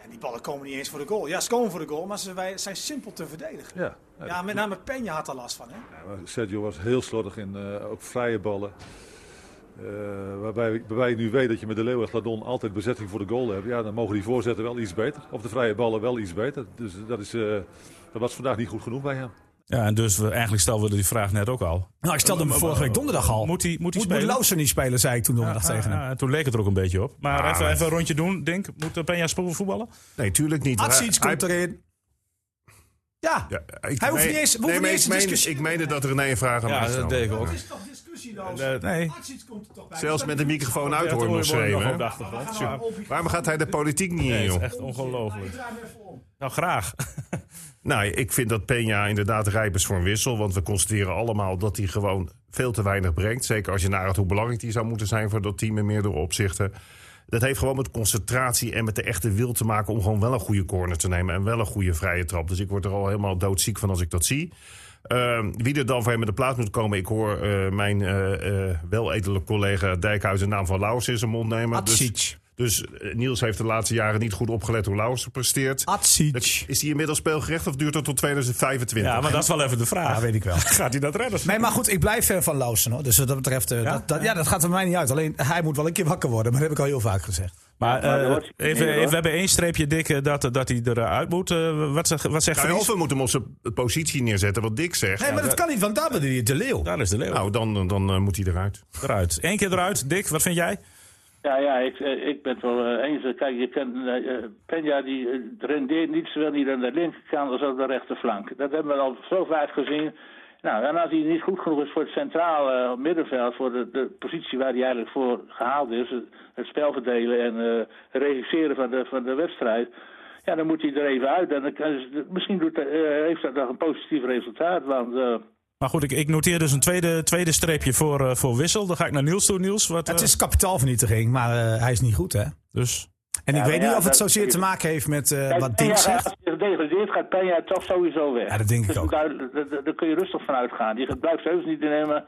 Speaker 4: En die ballen komen niet eens voor de goal. Ja, ze komen voor de goal, maar ze zijn simpel te verdedigen.
Speaker 6: Ja, nou,
Speaker 4: Ja, met name Penja had er last van. Hè?
Speaker 6: maar Sergio was heel slordig in eh, ook vrije ballen. Eh, waarbij, waarbij je nu weet dat je met de Leeuw en Gladon altijd bezetting voor de goal hebt. Ja, dan mogen die voorzetten wel iets beter. Of de vrije ballen wel iets beter. Dus dat, is, eh, dat was vandaag niet goed genoeg bij hem.
Speaker 2: Ja, en dus we, eigenlijk stelden we die vraag net ook al. Eh,
Speaker 4: Nou, ik stelde hem vorige week donderdag al.
Speaker 2: Moet hij- moet hij
Speaker 4: moet,
Speaker 2: spelen?
Speaker 4: Lausen niet spelen, zei ik toen donderdag tegen hem.
Speaker 2: Ah, ah, toen leek het er ook een beetje op. Maar
Speaker 5: Ah,
Speaker 2: even,
Speaker 5: maar-
Speaker 2: even een rondje doen, denk. Moet eh, Peña spoel voetballen?
Speaker 5: Nee, tuurlijk niet.
Speaker 4: Atsic
Speaker 5: Hij-
Speaker 4: komt erin. Ja,
Speaker 5: Ja, ik,
Speaker 4: Hij hoeft
Speaker 5: nee,
Speaker 4: niet eens- we hoeven
Speaker 5: nee, maar
Speaker 4: niet eens
Speaker 5: ik
Speaker 4: te
Speaker 5: meen-
Speaker 4: discussiëren.
Speaker 5: Ik meende dat René een vraag aan mij stelde.
Speaker 2: ik ook.
Speaker 4: is toch discussieloos.
Speaker 2: nee.
Speaker 4: Atsic komt er toch bij.
Speaker 5: Zelfs met de microfoon uit hoor nog schreeuwen. hè? Waarom gaat hij de politiek niet in,
Speaker 2: Nee, het is
Speaker 5: joh?
Speaker 2: echt ongelooflijk. Nou, graag.
Speaker 5: Nou, ik vind dat Peña inderdaad rijp is voor een wissel. Want we constateren allemaal dat hij gewoon veel te weinig brengt. Zeker als je nagaat hoe belangrijk hij zou moeten zijn voor dat team in meerdere opzichten. Dat heeft gewoon met concentratie en met de echte wil te maken om gewoon wel een goede corner te nemen. En wel een goede vrije trap. Dus ik word er al helemaal doodziek van als ik dat zie. Ehm, wie er dan voor hem in de plaats moet komen, ik hoor eh, mijn eh eh weledele collega Dijkhuis de naam van Lauwers in zijn mond nemen. Dus,
Speaker 4: Atsic.
Speaker 5: dus eh, Niels heeft de laatste jaren niet goed opgelet hoe Lauwers presteert.
Speaker 4: Atsic.
Speaker 5: Is hij inmiddels speelgerecht of duurt dat tot 2025?
Speaker 2: Ja, maar dat is wel even de vraag.
Speaker 4: Ja, weet ik wel.
Speaker 2: Gaat hij dat redden?
Speaker 4: Nee, maar goed, ik blijf ver van Lausen. Hoor. Dus wat dat betreft, eh, dat, dat, ja, dat gaat er mij niet uit. Alleen, hij moet wel een keer wakker worden. Maar dat heb ik al heel vaak gezegd.
Speaker 1: maar
Speaker 2: Maar
Speaker 1: dat
Speaker 2: eh,
Speaker 1: wordt-
Speaker 2: even,
Speaker 1: nee,
Speaker 2: even-
Speaker 1: hoor.
Speaker 2: we hebben één streepje dik eh, dat, dat hij eruit moet. Eh, wat, zeg- wat zegt
Speaker 5: Nou,
Speaker 2: Fries?
Speaker 5: of we moeten hem op zijn positie neerzetten, wat Dick zegt.
Speaker 4: Nee, maar dat kan niet, want daar ben je de leeuw.
Speaker 2: Daar is de leeuw
Speaker 5: Nou, dan, dan eh, moet hij eruit.
Speaker 2: eruit. Eén keer eruit. Dick, wat vind jij?
Speaker 1: Ja, ja, ik, eh, ik ben het wel eh, eens. Kijk, je kan, eh, eh, Penja die eh, rendeert niet zowel niet aan de linkerkant als aan de rechterflank. Dat hebben we al zo vaak gezien. Nou, en als hij niet goed genoeg is voor het centrale eh, middenveld, voor de, de positie waar hij eigenlijk voor gehaald is, het, het spel verdelen en eh regisseren van de, van de wedstrijd, ja, dan moet hij er even uit. En dan kan, misschien doet, eh, heeft dat nog een positief resultaat, want... eh,
Speaker 2: Maar goed, ik, ik noteer dus een tweede, tweede streepje voor, eh, voor wissel. Dan ga ik naar Niels toe, Niels. Wat,
Speaker 4: Het
Speaker 2: eh,
Speaker 4: is kapitaalvernietiging, maar eh, hij is niet goed, hè?
Speaker 2: dus,
Speaker 4: En ik
Speaker 1: maar
Speaker 4: weet niet
Speaker 1: ja,
Speaker 4: of
Speaker 1: dat-
Speaker 4: het zozeer te maken heeft met eh,
Speaker 1: Kijk,
Speaker 4: wat
Speaker 1: Peña
Speaker 4: Dick
Speaker 1: gaat-
Speaker 4: zegt.
Speaker 1: Als hij gedegradeerd gaat Penja toch sowieso weg.
Speaker 4: Ja, dat denk ik
Speaker 1: Dus
Speaker 4: ook.
Speaker 1: Daar, daar- daar- daar kun je rustig van uitgaan. Die gebruikt heus niet te nemen.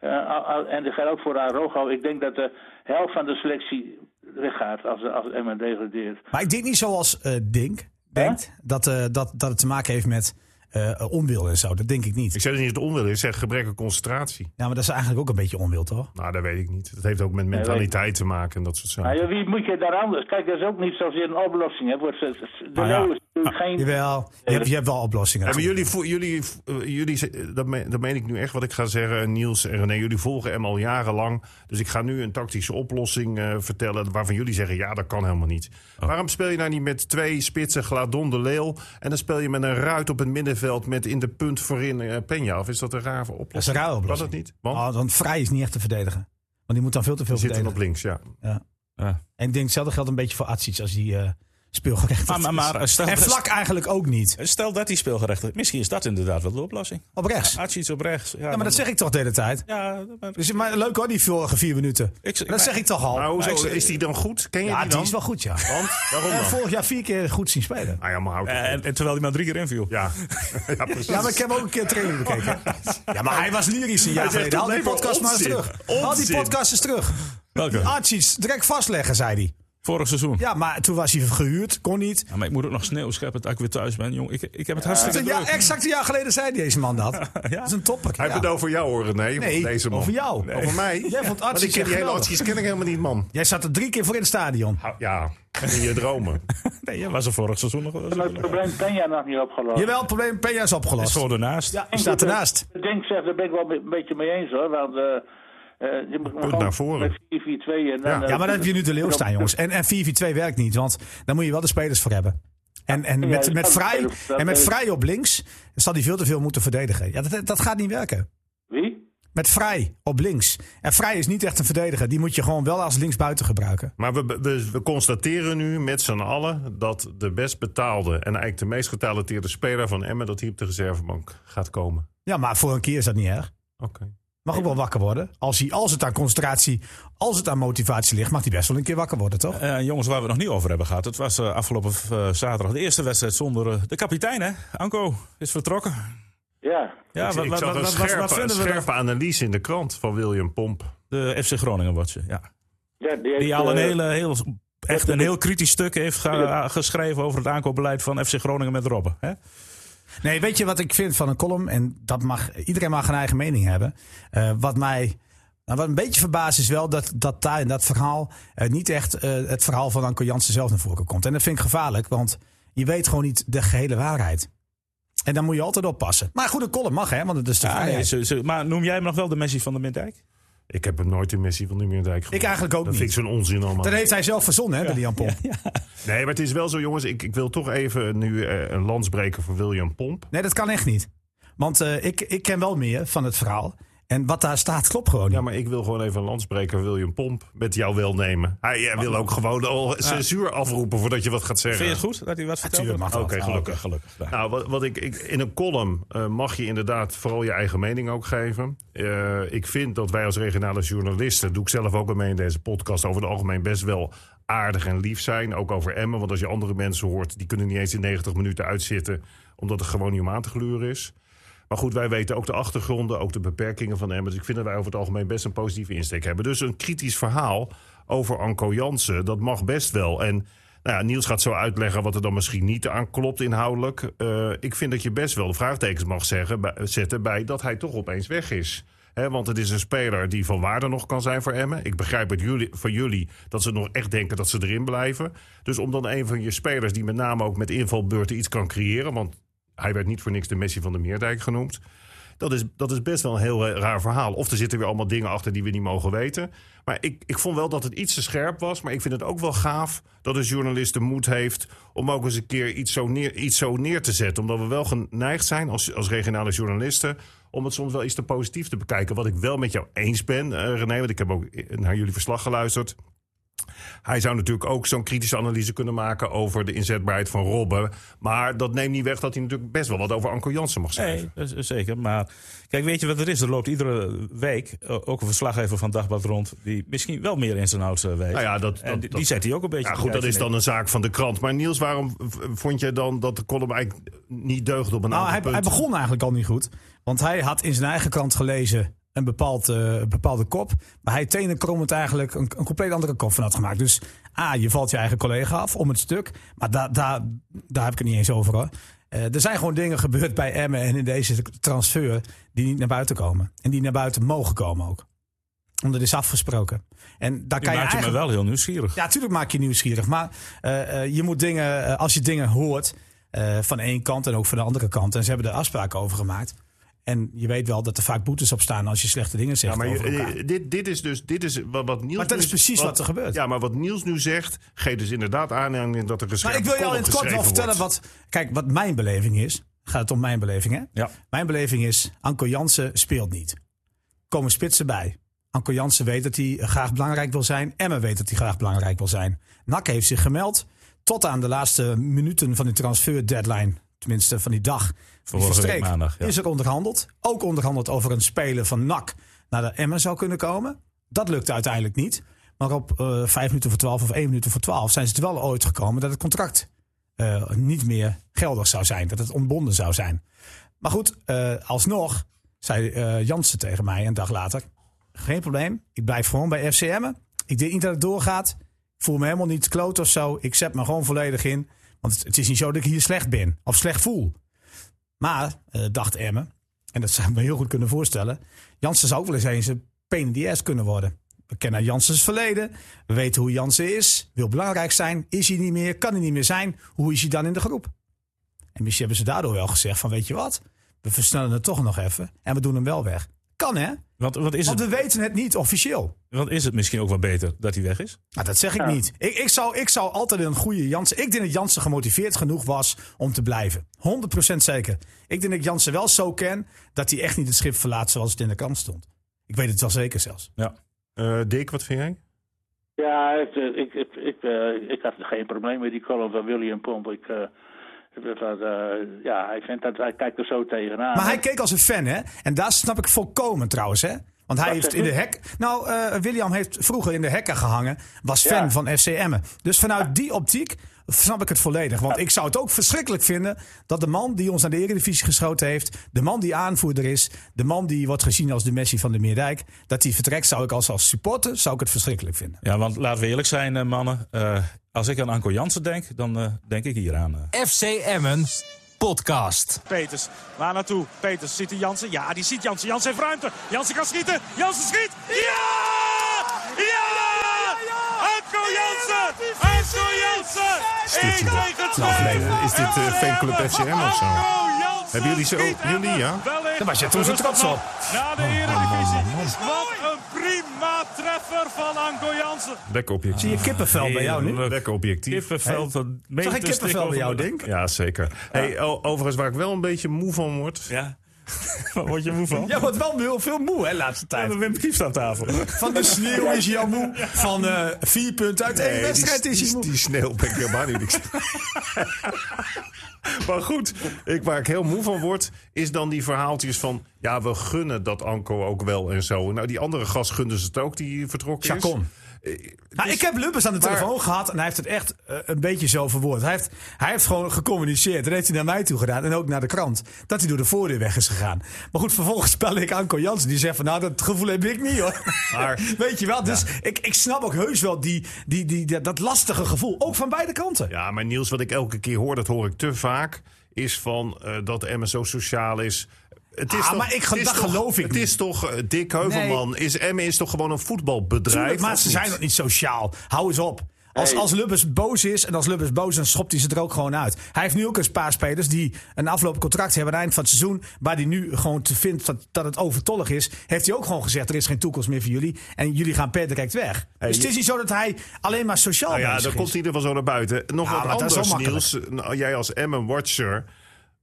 Speaker 1: Eh, al- al- en dat geldt ook voor Arogo. Ik denk dat de helft van de selectie weggaat als, als Emmen degradeert.
Speaker 4: Maar ik denk niet zoals eh Dink denkt, dat, eh, dat, dat het te maken heeft met eh, onwil en zo. Dat denk ik niet.
Speaker 5: Ik zeg dat niet dat het onwil is, ik zeg gebrek aan concentratie.
Speaker 4: Ja, maar dat is eigenlijk ook een beetje onwil, toch?
Speaker 5: Nou, dat weet ik niet. Dat heeft ook met mentaliteit te maken en dat soort zaken.
Speaker 1: Maar ja, wie moet je daar anders? Kijk, dat is ook niet zozeer een oplossing. Hè. Wordt ze- De
Speaker 2: Ah, ja.
Speaker 1: Leeuw is natuurlijk geen...
Speaker 4: Jawel, je hebt, je hebt wel oplossingen.
Speaker 5: Ja, maar jullie, vo- jullie, eh, jullie ze- eh, dat, me- dat meen ik nu echt wat ik ga zeggen, Niels en René. Jullie volgen hem al jarenlang. Dus ik ga nu een tactische oplossing eh, vertellen waarvan jullie zeggen, ja, dat kan helemaal niet. Waarom speel je nou niet met twee spitsen Gladon de Leeuw... en dan speel je met een ruit op het middenveld met in de punt voorin eh Peña? Of is dat een rare oplossing?
Speaker 4: Dat is een rare
Speaker 5: Kan
Speaker 4: oplossing.
Speaker 5: dat niet? Want
Speaker 4: Oh, want Vrij is niet echt te verdedigen. Want die moet dan veel te veel
Speaker 5: we zitten
Speaker 4: verdedigen.
Speaker 5: op links, ja.
Speaker 4: En ik denk hetzelfde geldt een beetje voor Atsic als die eh speelgerechtigd
Speaker 2: Maar- maar-
Speaker 4: is.
Speaker 2: maar, eh, stel-
Speaker 4: en Vlak eigenlijk ook niet.
Speaker 2: stel dat hij speelgerecht is. Misschien is dat inderdaad wel de oplossing.
Speaker 4: Op rechts. Ja,
Speaker 2: Archie is op rechts. Ja,
Speaker 4: maar dat zeg ik toch de hele tijd.
Speaker 2: Ja, maar-
Speaker 4: Dus, maar leuk hoor, die vorige vier minuten.
Speaker 2: Ik-
Speaker 4: dat zeg ik toch al.
Speaker 5: Maar hoezo,
Speaker 2: ik-
Speaker 5: is die dan goed? Ken je
Speaker 4: ja,
Speaker 5: die
Speaker 4: die,
Speaker 5: dan?
Speaker 4: is Eh, wel goed, ja.
Speaker 5: Want, waarom
Speaker 4: En
Speaker 5: dan?
Speaker 4: vorig jaar vier keer goed zien spelen.
Speaker 5: Ah ja, maar houd
Speaker 2: Eh,
Speaker 5: het
Speaker 2: en,
Speaker 5: op.
Speaker 2: en terwijl hij maar drie keer inviel.
Speaker 5: Ja. ja, precies.
Speaker 4: Ja, maar ik heb ook een keer training bekeken. Ja, maar hij was lyrisch een jaar
Speaker 5: Hij zegt
Speaker 4: geleden.
Speaker 5: toch
Speaker 4: Haal die
Speaker 5: alleen maar
Speaker 4: podcast maar eens
Speaker 5: onzin.
Speaker 4: terug. Haal die
Speaker 5: Onzin.
Speaker 4: podcast eens terug.
Speaker 2: Welke?
Speaker 4: Archies, direct vastleggen, zei hij.
Speaker 2: Vorig seizoen. Ja.
Speaker 4: Ja, maar toen was hij gehuurd, kon niet.
Speaker 2: maar ik moet ook nog sneeuw scheppen dat ik weer thuis ben. Jong, ik, ik heb het hartstikke
Speaker 4: Ja,
Speaker 2: druk.
Speaker 4: exact een jaar geleden zei deze man dat. Dat is een topper.
Speaker 5: Hij
Speaker 4: ja.
Speaker 5: heeft het over jou hoor, nee,
Speaker 4: Nee,
Speaker 5: deze man.
Speaker 4: over jou. Nee.
Speaker 5: Over mij.
Speaker 4: Jij vond
Speaker 5: Want ik
Speaker 4: Archie
Speaker 5: ken die hele
Speaker 4: geweldig.
Speaker 5: Archie's ken ik helemaal niet, man.
Speaker 4: Jij zat er drie keer voor in het stadion.
Speaker 5: Hou- Ja, in je dromen.
Speaker 2: Nee, ja, was er vorig seizoen nog wel.
Speaker 1: Maar het probleem Penja nog niet opgelost.
Speaker 4: Jawel, het probleem Peña is
Speaker 2: Is
Speaker 4: opgelost.
Speaker 2: gewoon ernaast.
Speaker 4: Ja, die staat ernaast.
Speaker 1: Ik denk zeg, daar ben ik wel een be- een beetje mee eens hoor. Want eh eh, je moet gewoon
Speaker 5: naar voren.
Speaker 1: met 4-4-2 en dan... eh,
Speaker 4: Ja, maar dan heb je nu de leeuw staan, jongens. En, en 4-4-2 werkt niet, want daar moet je wel de spelers voor hebben. En, en met, met, vrij, en met vrij op links zal hij veel te veel moeten verdedigen. Ja, dat, dat gaat niet werken.
Speaker 1: Wie?
Speaker 4: Met vrij op links. En vrij is niet echt een verdediger. Die moet je gewoon wel als linksbuiten gebruiken.
Speaker 5: Maar we, dus we, we constateren nu met z'n allen dat de best betaalde... en eigenlijk de meest getalenteerde speler van Emmen... dat hij op de reservebank gaat komen.
Speaker 4: Ja, maar voor een keer is dat niet erg.
Speaker 5: Oké.
Speaker 4: Mag ook wel wakker worden. Als, hij, als het aan concentratie, als het aan motivatie ligt, mag hij best wel een keer wakker worden, toch?
Speaker 2: Eh, jongens, waar we het nog niet over hebben gehad. Het was eh, afgelopen eh, zaterdag de eerste wedstrijd zonder eh, de kapitein, hè? Anko is vertrokken.
Speaker 1: Ja.
Speaker 2: Ja,
Speaker 5: ik,
Speaker 2: wat,
Speaker 5: ik
Speaker 2: wat,
Speaker 5: zag
Speaker 2: wat,
Speaker 5: een
Speaker 2: wat-
Speaker 5: scherpe,
Speaker 2: wat
Speaker 5: een
Speaker 2: vinden we
Speaker 5: scherpe analyse in de krant van William Pomp.
Speaker 2: dan? De FC Groningen watje, ja.
Speaker 1: ja heeft,
Speaker 2: Die al een
Speaker 1: eh,
Speaker 2: hele, heel, echt een heel kritisch stuk heeft ge- eh, geschreven over het aankoopbeleid van FC Groningen met Robben. Hè?
Speaker 4: Nee, weet je wat ik vind van een column? En dat mag, iedereen mag een eigen mening hebben. Eh, wat mij nou, wat een beetje verbaast is wel dat, dat daar in dat verhaal eh, niet echt eh, het verhaal van Anko Jansen zelf naar voren komt. En dat vind ik gevaarlijk, want je weet gewoon niet de gehele waarheid. En dan moet je altijd oppassen. Maar goed, een column mag, hè? Want het is de
Speaker 2: Ja,
Speaker 4: vrijheid.
Speaker 2: nee, ze- ze- maar noem jij hem nog wel de Messi van de Middijk?
Speaker 5: Ik heb hem nooit in Messi van de Meerdijk
Speaker 4: Ik eigenlijk ook
Speaker 5: Dat
Speaker 4: niet.
Speaker 5: vind ik zo'n onzin allemaal.
Speaker 4: Dat heeft hij zelf verzonnen, hè, de Jan Pomp.
Speaker 5: Nee, maar het is wel zo, jongens. Ik, ik wil toch even nu eh, een lans breken voor William Pomp.
Speaker 4: Nee, dat kan echt niet. Want eh, ik, ik ken wel meer van het verhaal. En wat daar staat, klopt gewoon niet.
Speaker 5: Ja, maar ik wil gewoon even een landspreker William Pomp met jou wel nemen. Hij eh, wil ook gewoon al censuur afroepen voordat je wat gaat zeggen.
Speaker 2: Vind je het goed dat hij wat vertelt?
Speaker 4: Tuurlijk mag dat.
Speaker 5: Oké, gelukkig.
Speaker 2: gelukkig. Ja.
Speaker 5: Nou, wat, wat ik, ik- in een column eh, mag je inderdaad vooral je eigen mening ook geven. Eh, ik vind dat wij als regionale journalisten, doe ik zelf ook al mee in deze podcast, over het algemeen best wel aardig en lief zijn. Ook over Emmen, want als je andere mensen hoort, die kunnen niet eens in 90 minuten uitzitten, omdat het gewoon niet om aan te gluren is. Maar goed, wij weten ook de achtergronden, ook de beperkingen van Emmen. Dus ik vind dat wij over het algemeen best een positieve insteek hebben. Dus een kritisch verhaal over Anko Jansen, dat mag best wel. En nou ja, Niels gaat zo uitleggen wat er dan misschien niet aan klopt inhoudelijk. Eh, ik vind dat je best wel de vraagtekens mag zeggen, bij- zetten bij dat hij toch opeens weg is. Hè, want het is een speler die van waarde nog kan zijn voor Emmen. Ik begrijp het jullie, van jullie dat ze nog echt denken dat ze erin blijven. Dus om dan een van je spelers die met name ook met invalbeurten iets kan creëren... want hij werd niet voor niks de Messi van de Meerdijk genoemd. Dat is, dat is best wel een heel eh, raar verhaal. Of er zitten weer allemaal dingen achter die we niet mogen weten. Maar ik, ik vond wel dat het iets te scherp was. Maar ik vind het ook wel gaaf dat een journalist de moed heeft... om ook eens een keer iets zo neer, iets zo neer te zetten. Omdat we wel geneigd zijn als, als regionale journalisten... om het soms wel iets te positief te bekijken. Wat ik wel met jou eens ben, eh, René. Want ik heb ook eh, naar jullie verslag geluisterd. Hij zou natuurlijk ook zo'n kritische analyse kunnen maken over de inzetbaarheid van Robben. Maar dat neemt niet weg dat hij natuurlijk best wel wat over Anko Jansen mag zeggen.
Speaker 2: Nou, Nee, dat is- eh, zeker. Maar kijk, weet je wat er is? Er loopt iedere week eh, ook een verslaggever van Dagblad rond... die misschien wel meer in zijn oud eh, weet.
Speaker 5: Nou ja, dat,
Speaker 2: en
Speaker 5: dat,
Speaker 2: die,
Speaker 5: dat-
Speaker 2: die zet hij ook een beetje...
Speaker 5: ja,
Speaker 2: te
Speaker 5: goed, dat
Speaker 2: kijken
Speaker 5: is dan een zaak van de krant. Maar Niels, waarom v- vond je dan dat de column eigenlijk niet deugde op een
Speaker 4: Nou,
Speaker 5: aantal
Speaker 4: hij, hij
Speaker 5: punten?
Speaker 4: begon eigenlijk al niet goed. Want hij had in zijn eigen krant gelezen een, bepaald, eh, een bepaalde kop. Maar hij tenenkrommend eigenlijk een, een compleet andere kop van had gemaakt. Dus A, je valt je eigen collega af om het stuk. Maar daar daar daar heb ik het niet eens over hoor. Eh, er zijn gewoon dingen gebeurd bij Emmen en in deze transfer die niet naar buiten komen. En die naar buiten mogen komen ook. Want dat is afgesproken. En daar
Speaker 2: Je
Speaker 4: kan
Speaker 2: maakt je
Speaker 4: je eigenlijk...
Speaker 2: me wel heel nieuwsgierig.
Speaker 4: Ja, natuurlijk maak je nieuwsgierig. Maar eh, eh, je moet dingen, eh, als je dingen hoort eh, van één kant en ook van de andere kant. En ze hebben er afspraken over gemaakt. En je weet wel dat er vaak boetes op staan als je slechte dingen zegt.
Speaker 5: Ja, maar
Speaker 4: over elkaar.
Speaker 5: je- dit, dit is dus dit is wat, wat Niels.
Speaker 4: Maar dat
Speaker 5: nu-
Speaker 4: is precies wat er gebeurt.
Speaker 5: Ja, maar wat Niels nu zegt, geeft dus inderdaad aanleiding dat er
Speaker 4: Maar
Speaker 5: geschreven
Speaker 4: ik wil jou in het kort wel vertellen wat. Kijk, wat mijn beleving is. Gaat het om mijn beleving, hè?
Speaker 2: Ja.
Speaker 4: Mijn beleving is: Anko Jansen speelt niet. Komen spitsen bij. Anko Jansen weet dat hij graag belangrijk wil zijn. Emma weet dat hij graag belangrijk wil zijn. Nak heeft zich gemeld. Tot aan de laatste minuten van de transfer deadline. Tenminste, van die dag. die
Speaker 2: week
Speaker 4: verstreek,
Speaker 2: maandag, ja.
Speaker 4: Is er onderhandeld. Ook onderhandeld over een speler van NAC naar de Emma zou kunnen komen. Dat lukte uiteindelijk niet. Maar op eh vijf minuten voor twaalf of één minuut voor twaalf zijn ze er wel ooit gekomen dat het contract eh, niet meer geldig zou zijn. Dat het ontbonden zou zijn. Maar goed, eh, alsnog zei eh, Jansen tegen mij een dag later: Geen probleem, ik blijf gewoon bij FCM. Ik denk niet dat het doorgaat. Ik voel me helemaal niet kloot of zo. Ik zet me gewoon volledig in. Want het, het is niet zo dat ik hier slecht ben of slecht voel. Maar, eh, dacht Emmen, en dat zou ik me heel goed kunnen voorstellen. Jansen zou ook wel eens eens een pain in the ass kunnen worden. We kennen Janssens verleden. We weten hoe Jansen is. Wil belangrijk zijn. Is hij niet meer? Kan hij niet meer zijn? Hoe is hij dan in de groep? En misschien hebben ze daardoor wel gezegd van weet je wat? We versnellen het toch nog even. En we doen hem wel weg. Kan hè?
Speaker 2: Want, wat is
Speaker 4: Want
Speaker 2: het,
Speaker 4: we weten het niet officieel.
Speaker 2: want is het misschien ook wel beter dat hij weg is?
Speaker 4: Nou, dat zeg ik niet. Ik, ik, zou, ik zou altijd een goede Jansen. Ik denk dat Jansen gemotiveerd genoeg was om te blijven. 100% zeker. Ik denk dat ik Jansen wel zo ken dat hij echt niet het schip verlaat zoals het in de krant stond. Ik weet het wel zeker zelfs.
Speaker 2: Ja.
Speaker 5: Eh, Dick, wat vind jij?
Speaker 1: Ja, het, eh, ik, ik, ik, eh, ik had geen probleem met die column van William Pomp. Ik, eh, dat, dat, eh, ja, hij, vindt dat, hij kijkt er zo tegenaan.
Speaker 4: Maar hij keek als een fan, hè? En daar snap ik volkomen trouwens, hè? Want hij
Speaker 1: Wat
Speaker 4: heeft
Speaker 1: zeg
Speaker 4: in de
Speaker 1: je?
Speaker 4: hek. Nou, eh, William heeft vroeger in de hekken gehangen. Was fan
Speaker 1: Ja.
Speaker 4: van FCM. Dus vanuit die optiek snap ik het volledig. Want ik zou het ook verschrikkelijk vinden dat de man die ons naar de Eredivisie geschoten heeft. De man die aanvoerder is. De man die wordt gezien als de Messi van de Meerdijk. Dat die vertrekt, zou ik als, als supporter zou ik het verschrikkelijk vinden.
Speaker 2: Ja, want laten we eerlijk zijn, eh, mannen. Eh, als ik aan Anko Jansen denk, dan eh, denk ik hieraan. eh.
Speaker 3: FC Emmen podcast.
Speaker 7: Peters. Waar naartoe? Peters ziet hij Jansen. Ja, die ziet Jansen. Jansen heeft ruimte. Jansen kan schieten. Jansen schiet. Ja! Ja! Anko Jansen! Anko Jansen!
Speaker 5: dit-
Speaker 7: 1 tegen 2.
Speaker 5: Nou, is dit, eh, fanclub FCM of zo?
Speaker 7: Anko Jansen!
Speaker 5: Hebben jullie zo-
Speaker 7: schiet hem
Speaker 5: jullie, ja?
Speaker 7: wel in. Dus
Speaker 4: Daar was je toen zo trots op.
Speaker 7: Na
Speaker 5: Oh,
Speaker 7: de Eredivisie. Wat een prima treffer van Anko Jansen.
Speaker 5: Lekker objectief.
Speaker 4: Zie je kippenvel bij jou nu?
Speaker 2: Heerlijk.
Speaker 5: Lekker objectief.
Speaker 2: Kippenveld.
Speaker 4: Zag ik kippenvel bij jou, Dink?
Speaker 5: Ja, zeker. Hey, o- overigens, waar ik wel een beetje moe van word.
Speaker 2: Ja. Waar word je moe van?
Speaker 4: Jij wordt wel heel veel moe, hè, laatste tijd.
Speaker 2: Wim Kieft aan tafel.
Speaker 4: Van de sneeuw is hij al moe. Van eh, vier punten uit één
Speaker 5: Nee, die-
Speaker 4: wedstrijd is hij
Speaker 5: die,
Speaker 4: moe.
Speaker 5: die sneeuw ben ik helemaal niet. niks. maar goed, ik, waar ik heel moe van word, is dan die verhaaltjes van... ja, we gunnen dat Anko ook wel en zo. Nou, die andere gast gunden ze het ook, die vertrokken is.
Speaker 4: Chacon. Nou, ik heb Lubbers aan de
Speaker 5: maar-
Speaker 4: telefoon gehad en hij heeft het echt eh, een beetje zo verwoord. Hij heeft, hij heeft gewoon gecommuniceerd. Dat heeft hij naar mij toe gedaan en ook naar de krant. Dat hij door de voordeur weg is gegaan. Maar goed, vervolgens belde ik Anko Jansen. Die zegt van, nou, dat gevoel heb ik niet, hoor.
Speaker 5: Maar-
Speaker 4: Weet je wel, dus ik, ik snap ook heus wel die, die, die, dat- dat lastige gevoel. Ook van beide kanten.
Speaker 5: Ja, maar Niels, wat ik elke keer hoor, dat hoor ik te vaak... is van eh, dat Emma zo sociaal is... Het is
Speaker 4: Ah,
Speaker 5: toch,
Speaker 4: maar ik-
Speaker 5: het is
Speaker 4: dat
Speaker 5: toch-
Speaker 4: geloof ik
Speaker 5: Het
Speaker 4: niet.
Speaker 5: is toch eh, Dick Heuvelman. Is Emmen is toch gewoon een voetbalbedrijf?
Speaker 4: Tuurlijk, maar
Speaker 5: of
Speaker 4: ze
Speaker 5: niet?
Speaker 4: zijn nog niet sociaal. Hou eens op. Als,
Speaker 1: Hey.
Speaker 4: als Lubbers boos is en als Lubbers boos is, dan schopt hij ze er ook gewoon uit. Hij heeft nu ook een paar spelers die een aflopend contract hebben aan het eind van het seizoen. Waar hij nu gewoon te vindt dat, dat het overtollig is. Heeft hij ook gewoon gezegd: er is geen toekomst meer voor jullie. En jullie gaan per direct weg. dus het is niet zo dat hij alleen maar sociaal
Speaker 5: Nou ja,
Speaker 4: bezig
Speaker 5: dan
Speaker 4: is.
Speaker 5: komt in ieder geval zo naar buiten. Nog
Speaker 4: Ja, maar
Speaker 5: wat
Speaker 4: dat is
Speaker 5: anders,
Speaker 4: wel
Speaker 5: Niels. Nou, jij als Emmen-watcher...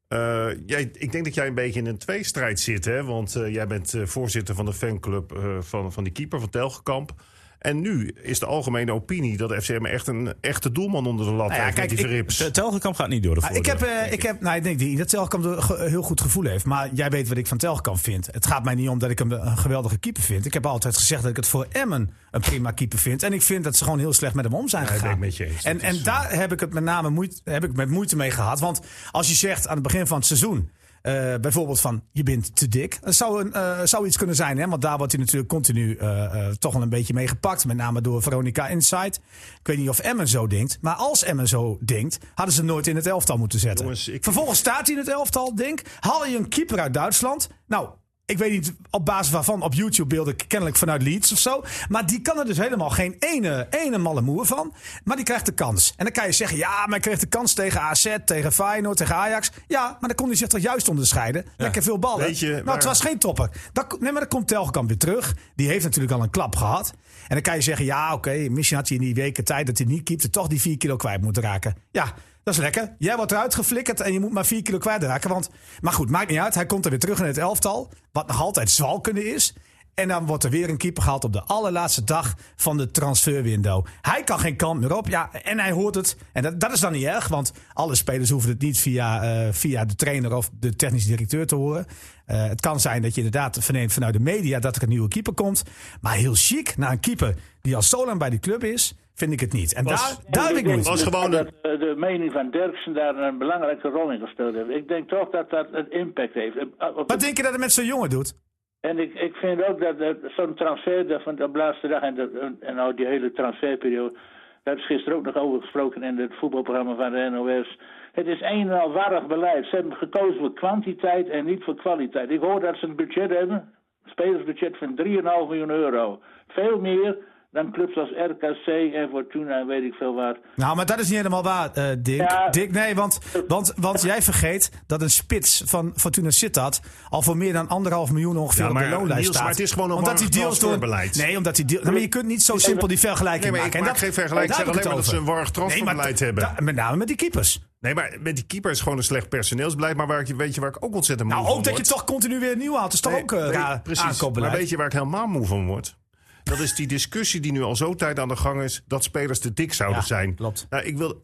Speaker 5: eh, jij, ik denk dat jij een beetje in een tweestrijd zit, hè? Want eh, jij bent eh, voorzitter van de fanclub eh, van, van die keeper van Telgekamp. En nu is de algemene opinie dat FCM echt een echte doelman onder de lat
Speaker 4: Nou ja,
Speaker 5: heeft
Speaker 4: kijk,
Speaker 5: met die
Speaker 4: ik-
Speaker 5: verrips.
Speaker 2: De Telgekamp gaat niet door de
Speaker 4: Ah,
Speaker 2: voordeur.
Speaker 4: ik heb, eh, ik heb, nou, ik denk niet dat Telkamp een ge- heel goed gevoel heeft. Maar jij weet wat ik van Telkamp vind. Het gaat mij niet om dat ik hem een geweldige keeper vind. Ik heb altijd gezegd dat ik het voor Emmen een prima keeper vind. En ik vind dat ze gewoon heel slecht met hem om zijn
Speaker 5: ik
Speaker 4: gegaan.
Speaker 5: ben het met je eens.
Speaker 4: en en daar heb ik het met name moeite, heb ik met moeite mee gehad. Want als je zegt aan het begin van het seizoen. eh, bijvoorbeeld van je bent te dik. Dat zou, een, eh, zou iets kunnen zijn, hè? want daar wordt hij natuurlijk continu eh, eh, toch wel een beetje mee gepakt. Met name door Veronica Insight. Ik weet niet of Emmen zo denkt. Maar als Emmen zo denkt, hadden ze hem nooit in het elftal moeten zetten.
Speaker 5: Jongens, ik-
Speaker 4: Vervolgens staat hij in het elftal, denk. Haal je een keeper uit Duitsland? Nou, ik weet niet op basis waarvan. Op YouTube beelden kennelijk vanuit Leeds of zo. Maar die kan er dus helemaal geen ene, ene malle moer van. Maar die krijgt de kans. En dan kan je zeggen, ja, maar hij kreeg de kans tegen AZ, tegen Feyenoord, tegen Ajax. Ja, maar dan kon hij zich toch juist onderscheiden. Lekker veel ballen.
Speaker 5: Weet je,
Speaker 4: nou,
Speaker 5: maar-
Speaker 4: het was geen topper. Dan, nee, maar dan komt Telgekamp weer terug. Die heeft natuurlijk al een klap gehad. En dan kan je zeggen, ja, oké, misschien had hij in die weken tijd dat hij niet keepte... toch die 4 kilo kwijt moeten raken. Ja, dat is lekker. Jij wordt eruit geflikkerd en je moet maar 4 kilo kwijtraken. Want, maar goed, maakt niet uit. Hij komt er weer terug in het elftal. Wat nog altijd zwalkende is. En dan wordt er weer een keeper gehaald op de allerlaatste dag van de transferwindow. Hij kan geen kant meer op. Ja, en hij hoort het. En dat, dat is dan niet erg, want alle spelers hoeven het niet via, eh, via de trainer of de technische directeur te horen. Eh, het kan zijn dat je inderdaad verneemt vanuit de media dat er een nieuwe keeper komt. Maar heel chic, na een keeper die al zo lang bij die club is, vind ik het niet. En
Speaker 5: Was-
Speaker 4: daar, daar heb ik moeite
Speaker 5: was
Speaker 4: mee.
Speaker 5: gewoon
Speaker 1: dat
Speaker 5: een-
Speaker 1: eh, de mening van Derksen daar een belangrijke rol in gespeeld heeft. Ik denk toch dat dat een impact heeft. Eh, op-
Speaker 4: Wat denk je dat het met zo'n jongen doet?
Speaker 1: En ik, ik vind ook dat, dat zo'n transfer dat van de laatste dag en, de, en nou die hele transferperiode. Daar hebben ze gisteren ook nog over gesproken in het voetbalprogramma van de NOS. Het is een en al warrig beleid. Ze hebben gekozen voor kwantiteit en niet voor kwaliteit. Ik hoor dat ze een budget hebben, een spelersbudget van 3,5 miljoen euro. Veel meer dan clubs als RKC en Fortuna en weet ik veel wat.
Speaker 4: Nou, maar dat is niet helemaal waar, eh Dick.
Speaker 1: Ja.
Speaker 4: Dick, nee, want, want, want jij vergeet dat een spits van Fortuna Sittard al voor meer dan anderhalf miljoen ongeveer
Speaker 5: Ja,
Speaker 4: op
Speaker 5: maar eh,
Speaker 4: de loonlijst
Speaker 5: Niels,
Speaker 4: staat.
Speaker 5: maar het is gewoon een
Speaker 4: omdat die
Speaker 5: warm
Speaker 4: deals door,
Speaker 5: transferbeleid.
Speaker 4: Nee, omdat die deal, nou, maar je kunt niet zo simpel die vergelijking
Speaker 5: Nee, maar ik
Speaker 4: maken. En Oh,
Speaker 5: maak geen vergelijking.
Speaker 4: daar
Speaker 5: Ik zeg
Speaker 4: heb
Speaker 5: alleen
Speaker 4: het
Speaker 5: maar
Speaker 4: over.
Speaker 5: dat ze een warm transferbeleid
Speaker 4: maar
Speaker 5: hebben.
Speaker 4: da- Met name met die keepers.
Speaker 5: Nee, maar met die keeper is gewoon een slecht personeelsbeleid. Maar waar ik, weet je waar ik ook ontzettend moe
Speaker 4: Nou,
Speaker 5: van
Speaker 4: ook dat je
Speaker 5: word?
Speaker 4: toch continu weer nieuw haalt. Dat is toch
Speaker 5: Nee,
Speaker 4: ook eh
Speaker 5: nee,
Speaker 4: raar
Speaker 5: Maar
Speaker 4: aankoopbeleid.
Speaker 5: weet je waar ik helemaal moe van word? Dat is die discussie die nu al zo tijd aan de gang is... dat spelers te dik zouden
Speaker 4: Ja,
Speaker 5: zijn.
Speaker 4: klopt.
Speaker 5: Nou, ik wil,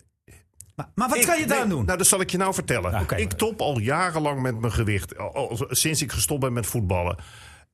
Speaker 4: maar, maar wat
Speaker 5: ik-
Speaker 4: kan je daar
Speaker 5: nee,
Speaker 4: doen?
Speaker 5: Nou, dat zal ik je nou vertellen.
Speaker 4: oké.
Speaker 5: Ik top al jarenlang met mijn gewicht. Al, al- sinds ik gestopt ben met voetballen.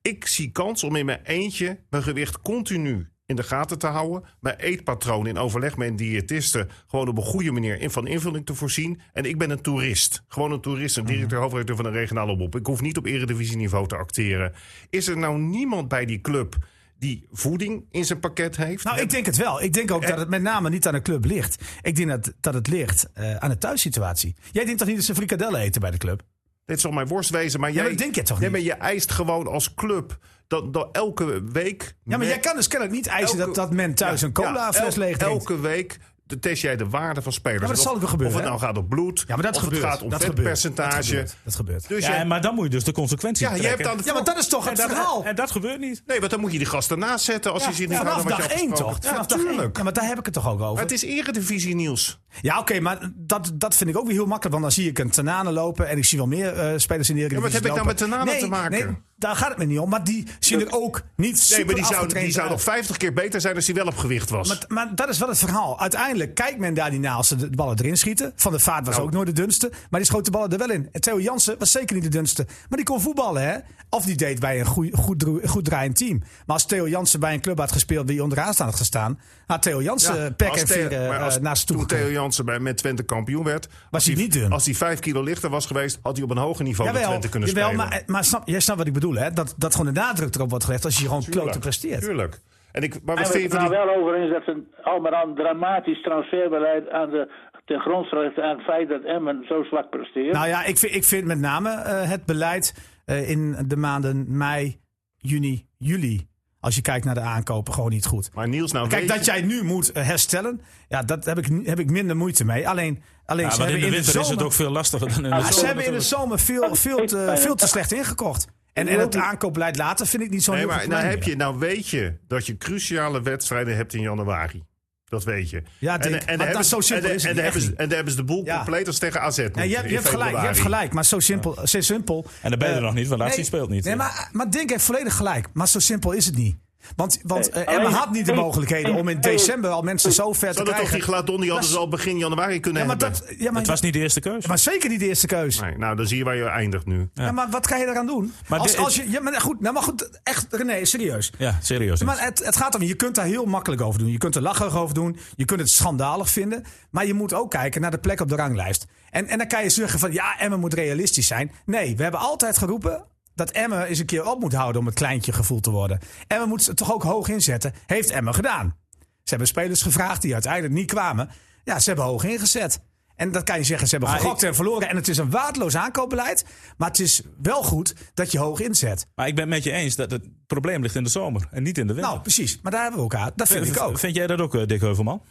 Speaker 5: Ik zie kans om in mijn eentje mijn gewicht continu in de gaten te houden. Mijn eetpatroon in overleg met een diëtiste... gewoon op een goede manier in van invulling te voorzien. En ik ben een toerist. Gewoon een toerist, een
Speaker 4: Mhm.
Speaker 5: directeur, hoofdredacteur van een regionale omroep. Ik hoef niet op eredivisieniveau te acteren. Is er nou niemand bij die club die voeding in zijn pakket heeft?
Speaker 4: Nou, ik denk het wel. Ik denk ook
Speaker 5: eh,
Speaker 4: dat het met name niet aan de club ligt. Ik denk dat, dat het ligt eh, aan de thuissituatie. Jij denkt toch niet dat ze frikadellen eten bij de club?
Speaker 5: Dit zal mijn worst wezen, maar
Speaker 4: maar
Speaker 5: jij...
Speaker 4: dat denk je toch
Speaker 5: Nee,
Speaker 4: niet?
Speaker 5: maar je eist gewoon als club dat, dat elke week...
Speaker 4: Ja, maar jij kan dus kennelijk niet eisen dat, dat men thuis een colaafles leeg drinkt.
Speaker 5: Elke week de- test jij de waarde van spelers.
Speaker 4: maar dat
Speaker 5: En
Speaker 4: zal
Speaker 5: of,
Speaker 4: wel gebeuren,
Speaker 5: Of het
Speaker 4: hè?
Speaker 5: nou gaat op bloed,
Speaker 4: Ja, maar dat
Speaker 5: of
Speaker 4: gebeurt.
Speaker 5: het gaat om
Speaker 4: dat gebeurt. Dat
Speaker 5: vetpercentage.
Speaker 4: gebeurt. Dat gebeurt.
Speaker 5: Dus
Speaker 2: Ja,
Speaker 5: jij-
Speaker 2: maar dan moet je dus de consequenties
Speaker 5: ja, je hebt
Speaker 2: trekken.
Speaker 5: dan...
Speaker 4: Ja, maar dat is toch
Speaker 2: en
Speaker 4: het
Speaker 2: dat,
Speaker 4: verhaal.
Speaker 2: en dat gebeurt niet.
Speaker 5: Nee, want dan moet je die gast ernaast zetten als je zit niet
Speaker 4: Vanaf
Speaker 5: houdt aan
Speaker 4: dag
Speaker 5: wat je
Speaker 4: 1
Speaker 5: afgesproken
Speaker 4: toch?
Speaker 5: hebt.
Speaker 4: Vanaf
Speaker 5: Ja,
Speaker 4: dag één.
Speaker 5: tuurlijk.
Speaker 4: Ja, maar daar heb ik het toch ook over?
Speaker 5: Maar het is eredivisie nieuws.
Speaker 4: Ja, oké, maar dat, dat vind ik ook weer heel makkelijk. Want dan zie ik een Tanane lopen en ik zie wel meer eh, spelers in de Eredivisie
Speaker 5: Ja, maar wat heb ik nou
Speaker 4: lopen.
Speaker 5: met Tanane
Speaker 4: nee,
Speaker 5: te maken?
Speaker 4: Nee, daar gaat het me niet om. Maar die zien er ook niet super
Speaker 5: Nee, maar die zou, die
Speaker 4: afgetraind
Speaker 5: zou nog
Speaker 4: uit.
Speaker 5: 50 keer beter zijn als hij wel op gewicht was.
Speaker 4: Maar, maar dat is wel het verhaal. Uiteindelijk kijkt men daar niet naar als ze de ballen erin schieten. Van de Vaart was
Speaker 5: Nou.
Speaker 4: ook nooit de dunste. Maar die schoot de ballen er wel in. En Theo Jansen was zeker niet de dunste. Maar die kon voetballen, hè? Of die deed bij een goeie- goed, droe- goed draaiend team. Maar als Theo Jansen bij een club had gespeeld die onderaan staan had gestaan. had Theo Jansen
Speaker 5: Ja,
Speaker 4: eh, pek
Speaker 5: als
Speaker 4: en
Speaker 5: Theo-
Speaker 4: vier eh,
Speaker 5: maar als-
Speaker 4: eh, naast toe
Speaker 5: Toen
Speaker 4: gekomen.
Speaker 5: Theo Jansen bij, met Twente kampioen werd...
Speaker 4: Was hij niet dun?
Speaker 5: Als hij vijf kilo lichter was geweest... had hij op een hoger niveau met Twente kunnen
Speaker 4: jawel,
Speaker 5: spelen.
Speaker 4: maar, eh, maar snap, jij snapt wat ik bedoel, hè? Dat, dat gewoon de nadruk erop wordt gelegd als je gewoon
Speaker 5: Tuurlijk,
Speaker 4: klote presteert.
Speaker 5: Tuurlijk. En ik, maar
Speaker 1: En
Speaker 5: wat
Speaker 1: we
Speaker 5: vind je
Speaker 1: het
Speaker 5: van
Speaker 1: nou
Speaker 5: die...
Speaker 1: wel over eens dat een Almaran dramatisch transferbeleid aan de, ten grondslag ligt aan het feit dat Emmen zo zwak presteert.
Speaker 4: Nou ja, ik vind, ik vind met name eh, het beleid eh, in de maanden mei, juni, juli. Als je kijkt naar de aankopen, gewoon niet goed.
Speaker 5: Maar Niels, nou
Speaker 4: Kijk,
Speaker 5: weet
Speaker 4: dat jij nu moet eh, herstellen, ja, dat heb ik, heb ik minder moeite mee. Alleen, alleen
Speaker 2: Ja,
Speaker 4: ze
Speaker 2: maar in
Speaker 4: hebben
Speaker 2: de winter is
Speaker 4: zomer,
Speaker 2: het ook veel lastiger dan in de
Speaker 4: Ah,
Speaker 2: zomer.
Speaker 4: ze hebben in de zomer veel, veel, te, veel te slecht ingekocht. En, en het aankoopbeleid later vind ik niet zo'n
Speaker 5: Nee,
Speaker 4: heel
Speaker 5: maar
Speaker 4: goed
Speaker 5: nou,
Speaker 4: probleem
Speaker 5: heb je, nou weet je dat je cruciale wedstrijden hebt in januari. Dat weet je.
Speaker 4: Ja, Dick,
Speaker 5: en,
Speaker 4: maar
Speaker 5: daar
Speaker 4: dat
Speaker 5: hebben
Speaker 4: is zo
Speaker 5: ze-
Speaker 4: simpel
Speaker 5: en-
Speaker 4: is
Speaker 5: en
Speaker 4: het
Speaker 5: daar
Speaker 4: echt
Speaker 5: hebben ze-
Speaker 4: niet.
Speaker 5: En daar hebben ze de boel
Speaker 4: Ja.
Speaker 5: compleet als tegen AZ. moeten
Speaker 4: Ja, je, hebt- je
Speaker 5: in
Speaker 4: hebt gelijk, je hebt
Speaker 5: februari.
Speaker 4: gelijk, maar zo simpel, zo simpel.
Speaker 2: En dan ben je er
Speaker 4: eh,
Speaker 2: nog niet, want Lazio
Speaker 4: nee,
Speaker 2: speelt niet.
Speaker 4: Nee, maar, maar Dink heeft volledig gelijk, maar zo simpel is het niet. Want, want
Speaker 1: Nee,
Speaker 4: eh, Emma
Speaker 1: alleen-
Speaker 4: had niet de
Speaker 1: nee,
Speaker 4: mogelijkheden
Speaker 1: nee,
Speaker 4: om in
Speaker 1: nee.
Speaker 4: december al mensen zo ver te
Speaker 5: Ze hadden toch die
Speaker 4: krijgen.
Speaker 5: Gladon, die hadden ze al begin januari kunnen
Speaker 4: Ja, maar,
Speaker 5: hebben.
Speaker 4: dat, ja, maar,
Speaker 2: Het was niet de eerste keus.
Speaker 4: maar zeker niet de eerste keus.
Speaker 5: Nee, nou, dan zie je waar je eindigt nu.
Speaker 4: Ja, maar wat kan je daaraan doen?
Speaker 2: Maar
Speaker 4: als,
Speaker 2: dit-
Speaker 4: als je, ja, maar goed, nou, maar goed, echt, René, serieus.
Speaker 2: Ja, serieus.
Speaker 4: Maar het, het gaat om, je kunt daar heel makkelijk over doen. Je kunt er lacherig over doen. Je kunt het schandalig vinden. Maar je moet ook kijken naar de plek op de ranglijst. En, en dan kan je zeggen van, ja, Emmen moet realistisch zijn. Nee, we hebben altijd geroepen dat Emmen eens een keer op moet houden om het kleintje gevoel te worden. Emmen moet ze toch ook hoog inzetten. Heeft Emmen gedaan. Ze hebben spelers gevraagd die uiteindelijk niet kwamen. Ja, ze hebben hoog ingezet. En dat kan je zeggen, ze hebben
Speaker 2: Maar
Speaker 4: gegokt en verloren. En het is een waardeloos aankoopbeleid. Maar het is wel goed dat je hoog inzet.
Speaker 2: Maar ik ben het met je eens dat het probleem ligt in de zomer en niet in de winter.
Speaker 4: Nou, precies. Maar daar hebben we elkaar. Dat vind
Speaker 2: V-
Speaker 4: ik ook.
Speaker 2: Vind jij dat ook, eh, Dick Heuvelman?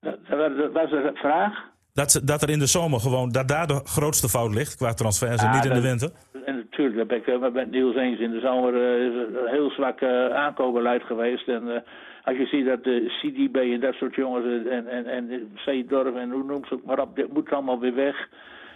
Speaker 1: Dat, dat- dat was de vraag.
Speaker 2: Dat, ze- dat er in de zomer gewoon, dat daar de grootste fout ligt qua transfers en
Speaker 1: Ja,
Speaker 2: niet in de
Speaker 1: dat-
Speaker 2: winter.
Speaker 1: En natuurlijk, dat ben ik eh, met Niels eens. In de zomer eh, is er een heel zwak eh, aankoopbeleid geweest. En eh, als je ziet dat de CDB en dat soort jongens eh, en, en, en Zeedorf en hoe noemt ze het maar op, dit moet allemaal weer weg.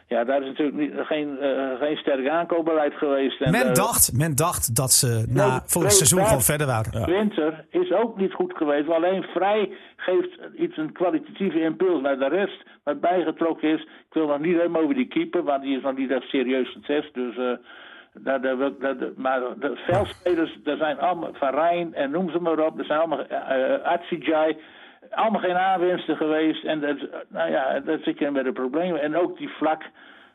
Speaker 1: Ja, daar is natuurlijk niet, geen, eh, geen sterk aankoopbeleid geweest. En,
Speaker 4: Men
Speaker 1: eh,
Speaker 4: dacht, men dacht dat ze na
Speaker 1: Nou,
Speaker 4: volgend seizoen
Speaker 1: daar-
Speaker 4: gewoon verder waren.
Speaker 1: Winter is ook niet goed geweest. maar Alleen Vrij geeft iets een kwalitatieve impuls naar de rest. Wat bijgetrokken is, ik wil nog niet helemaal over die keeper, want die is nog niet echt serieus succes. Dus, eh, daar, daar, wil ik- daar- daar- maar de veldspelers, daar zijn allemaal van Rijn en noem ze maar op. Er zijn allemaal eh Atsijai. Allemaal geen aanwinsten geweest. En dat, nou ja, dat zit je met de problemen. En ook die vlak.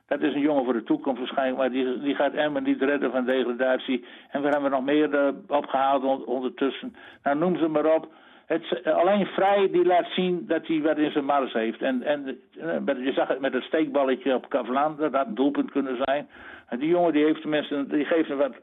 Speaker 1: Dat is een jongen voor de toekomst waarschijnlijk, maar die, die gaat Emmen niet redden van degradatie. En we hebben nog meer eh, opgehaald on- ondertussen. Nou, noem ze maar op. Het, is- eh, alleen Vrij die laat zien dat hij wat in zijn mars heeft. En, en eh, met- je zag het met het steekballetje op Kavlaan, dat had een doelpunt kunnen zijn. En die jongen die heeft tenminste, die geeft hem wat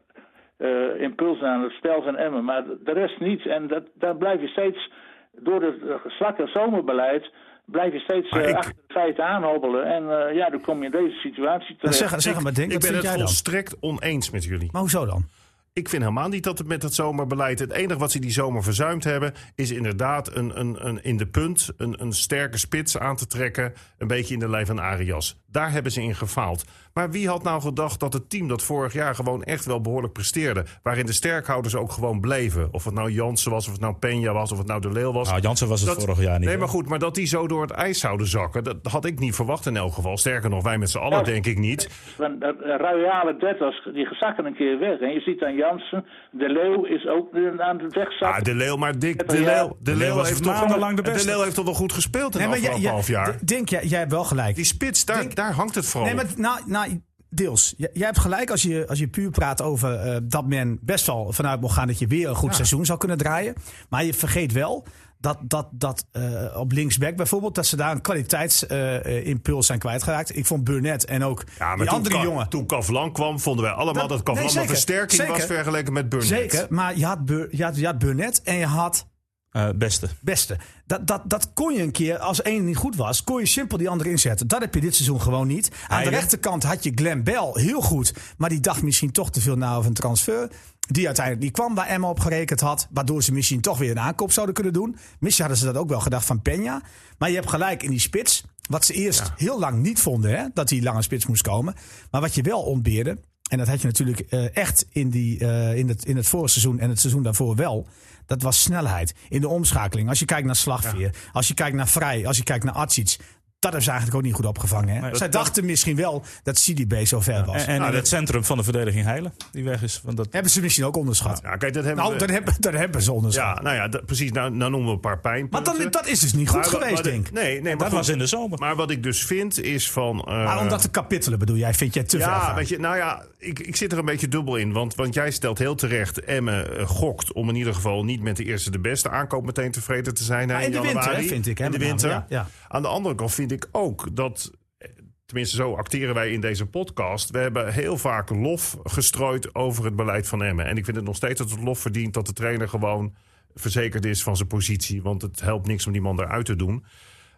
Speaker 1: eh, impuls aan het spel van Emmen, maar de rest niet. En dat, daar blijf je steeds, door het eh, zwakke zomerbeleid, blijf je steeds
Speaker 5: Maar
Speaker 1: eh,
Speaker 5: ik-
Speaker 1: achter de feiten aanhobbelen. En eh, ja, dan kom je in deze situatie
Speaker 4: Dan
Speaker 1: terecht.
Speaker 4: zeg, zeg het maar, denk,
Speaker 5: ik
Speaker 4: wat
Speaker 5: ben
Speaker 4: vind
Speaker 5: het
Speaker 4: jij dan?
Speaker 5: volstrekt oneens met jullie.
Speaker 4: Maar hoezo dan?
Speaker 5: Ik vind helemaal niet dat het met dat zomerbeleid. Het enige wat ze die zomer verzuimd hebben. is inderdaad een, een, een in de punt. Een, een sterke spits aan te trekken. Een beetje in de lijn van Arias. Daar hebben ze in gefaald. Maar wie had nou gedacht dat het team dat vorig jaar gewoon echt wel behoorlijk presteerde. waarin de sterkhouders ook gewoon bleven. Of het nou Jansen was, of het nou Peña was, of het nou De Leeuw was.
Speaker 2: Nou, Jansen was het
Speaker 5: Dat-
Speaker 2: vorig jaar niet.
Speaker 5: Nee, maar
Speaker 2: hoor.
Speaker 5: goed, maar dat die zo door het ijs zouden zakken, dat had ik niet verwacht in elk geval. Sterker nog, wij met z'n allen,
Speaker 1: Ja.
Speaker 5: denk ik niet.
Speaker 1: Want dat eh, royale dertigers, die zakken een keer weg. En je ziet aan Jansen, de Leeuw is ook eh, aan het
Speaker 5: Ah,
Speaker 1: wegzakken.
Speaker 5: de Leeuw, maar Dick, de
Speaker 1: Ja.
Speaker 5: Leeuw, de
Speaker 2: Leeuw
Speaker 5: Leeuw
Speaker 2: was
Speaker 5: heeft toch
Speaker 2: maandenlang de beste.
Speaker 5: De Leeuw heeft toch wel goed gespeeld in
Speaker 4: Nee,
Speaker 5: de
Speaker 4: maar jij,
Speaker 5: afgelopen half jaar.
Speaker 4: Denk, jij, jij hebt wel gelijk.
Speaker 5: Die spits, daar,
Speaker 4: Dick-
Speaker 5: daar hangt het vooral.
Speaker 4: Nee, maar
Speaker 5: op.
Speaker 4: nou, nou, deels. J- Jij hebt gelijk als je, als je puur praat over eh, dat men best wel vanuit mocht gaan dat je weer een goed seizoen zou kunnen draaien. Maar je vergeet wel dat, dat, dat eh, op linksback bijvoorbeeld, dat ze daar een kwaliteitsimpuls zijn kwijtgeraakt. Ik vond Burnett en ook
Speaker 5: Ja, maar
Speaker 4: die
Speaker 5: toen
Speaker 4: andere
Speaker 5: Ka-
Speaker 4: jongen.
Speaker 5: Toen Kavlan kwam, vonden wij allemaal dat,
Speaker 4: Dat-
Speaker 5: Kavlan
Speaker 4: nee,
Speaker 5: een
Speaker 4: zeker.
Speaker 5: versterking was
Speaker 4: Zeker.
Speaker 5: vergeleken met Burnett.
Speaker 4: Zeker, maar je had, Bur- je, had, je had Burnett en je had
Speaker 2: Eh, beste.
Speaker 4: beste. Dat, dat, dat kon je een keer, als één niet goed was, kon je simpel die andere inzetten. Dat heb je dit seizoen gewoon niet. Aan
Speaker 2: Heide.
Speaker 4: de rechterkant had je Glenn Bell heel goed, maar die dacht misschien toch te veel na over een transfer. Die uiteindelijk die kwam waar Emma op gerekend had, waardoor ze misschien toch weer een aankoop zouden kunnen doen. Misschien hadden ze dat ook wel gedacht van Peña. Maar je hebt gelijk in die spits, wat ze eerst heel lang niet vonden, hè, dat die lange spits moest komen. Maar wat je wel ontbeerde, en dat had je natuurlijk eh, echt in, die, eh, in, het, in het vorige seizoen en het seizoen daarvoor wel. Dat was snelheid in de omschakeling. Als je kijkt naar Slagveer, als je kijkt naar Vrij, als je kijkt naar Atsic. Dat hebben ze eigenlijk ook niet goed opgevangen. Hè?
Speaker 2: Nee,
Speaker 4: Zij
Speaker 2: dat-
Speaker 4: dachten misschien wel dat CDB zo ver was.
Speaker 2: En, en in het centrum van de verdediging Heilen. Die weg is. Want dat,
Speaker 4: hebben ze misschien ook onderschat.
Speaker 5: Ja, kijk, dat hebben
Speaker 4: nou,
Speaker 5: we-
Speaker 4: dat hebben, dat hebben ze onderschat.
Speaker 5: Ja, nou ja, dat- precies. Nou, nou noemen we een paar
Speaker 4: maar
Speaker 5: pijnpunten.
Speaker 4: dan, dat is dus niet goed
Speaker 5: Maar wa-
Speaker 4: geweest,
Speaker 5: wat ik-
Speaker 4: denk ik.
Speaker 5: Nee, nee maar,
Speaker 2: dat
Speaker 5: goed.
Speaker 2: was in de zomer.
Speaker 5: maar wat ik dus vind is van... eh,
Speaker 4: maar omdat de kapittelen bedoel jij, vind jij te veel
Speaker 5: ja,
Speaker 4: van.
Speaker 5: weet je, nou ja, ik, ik zit er een beetje dubbel in. Want, want jij stelt heel terecht, Emme eh, gokt om in ieder geval niet met de eerste de beste aankoop meteen tevreden te zijn. hè,
Speaker 4: in de winter,
Speaker 5: januari.
Speaker 4: hè, vind ik, hè,
Speaker 5: In de
Speaker 4: met name,
Speaker 5: winter.
Speaker 4: ja, ja.
Speaker 5: Aan de andere kant vind ik ook dat, eh, tenminste zo acteren wij in deze podcast. We hebben heel vaak lof gestrooid over het beleid van Emmen. En ik vind het nog steeds dat het lof verdient dat de trainer gewoon verzekerd is van zijn positie. Want het helpt niks om die man eruit te doen.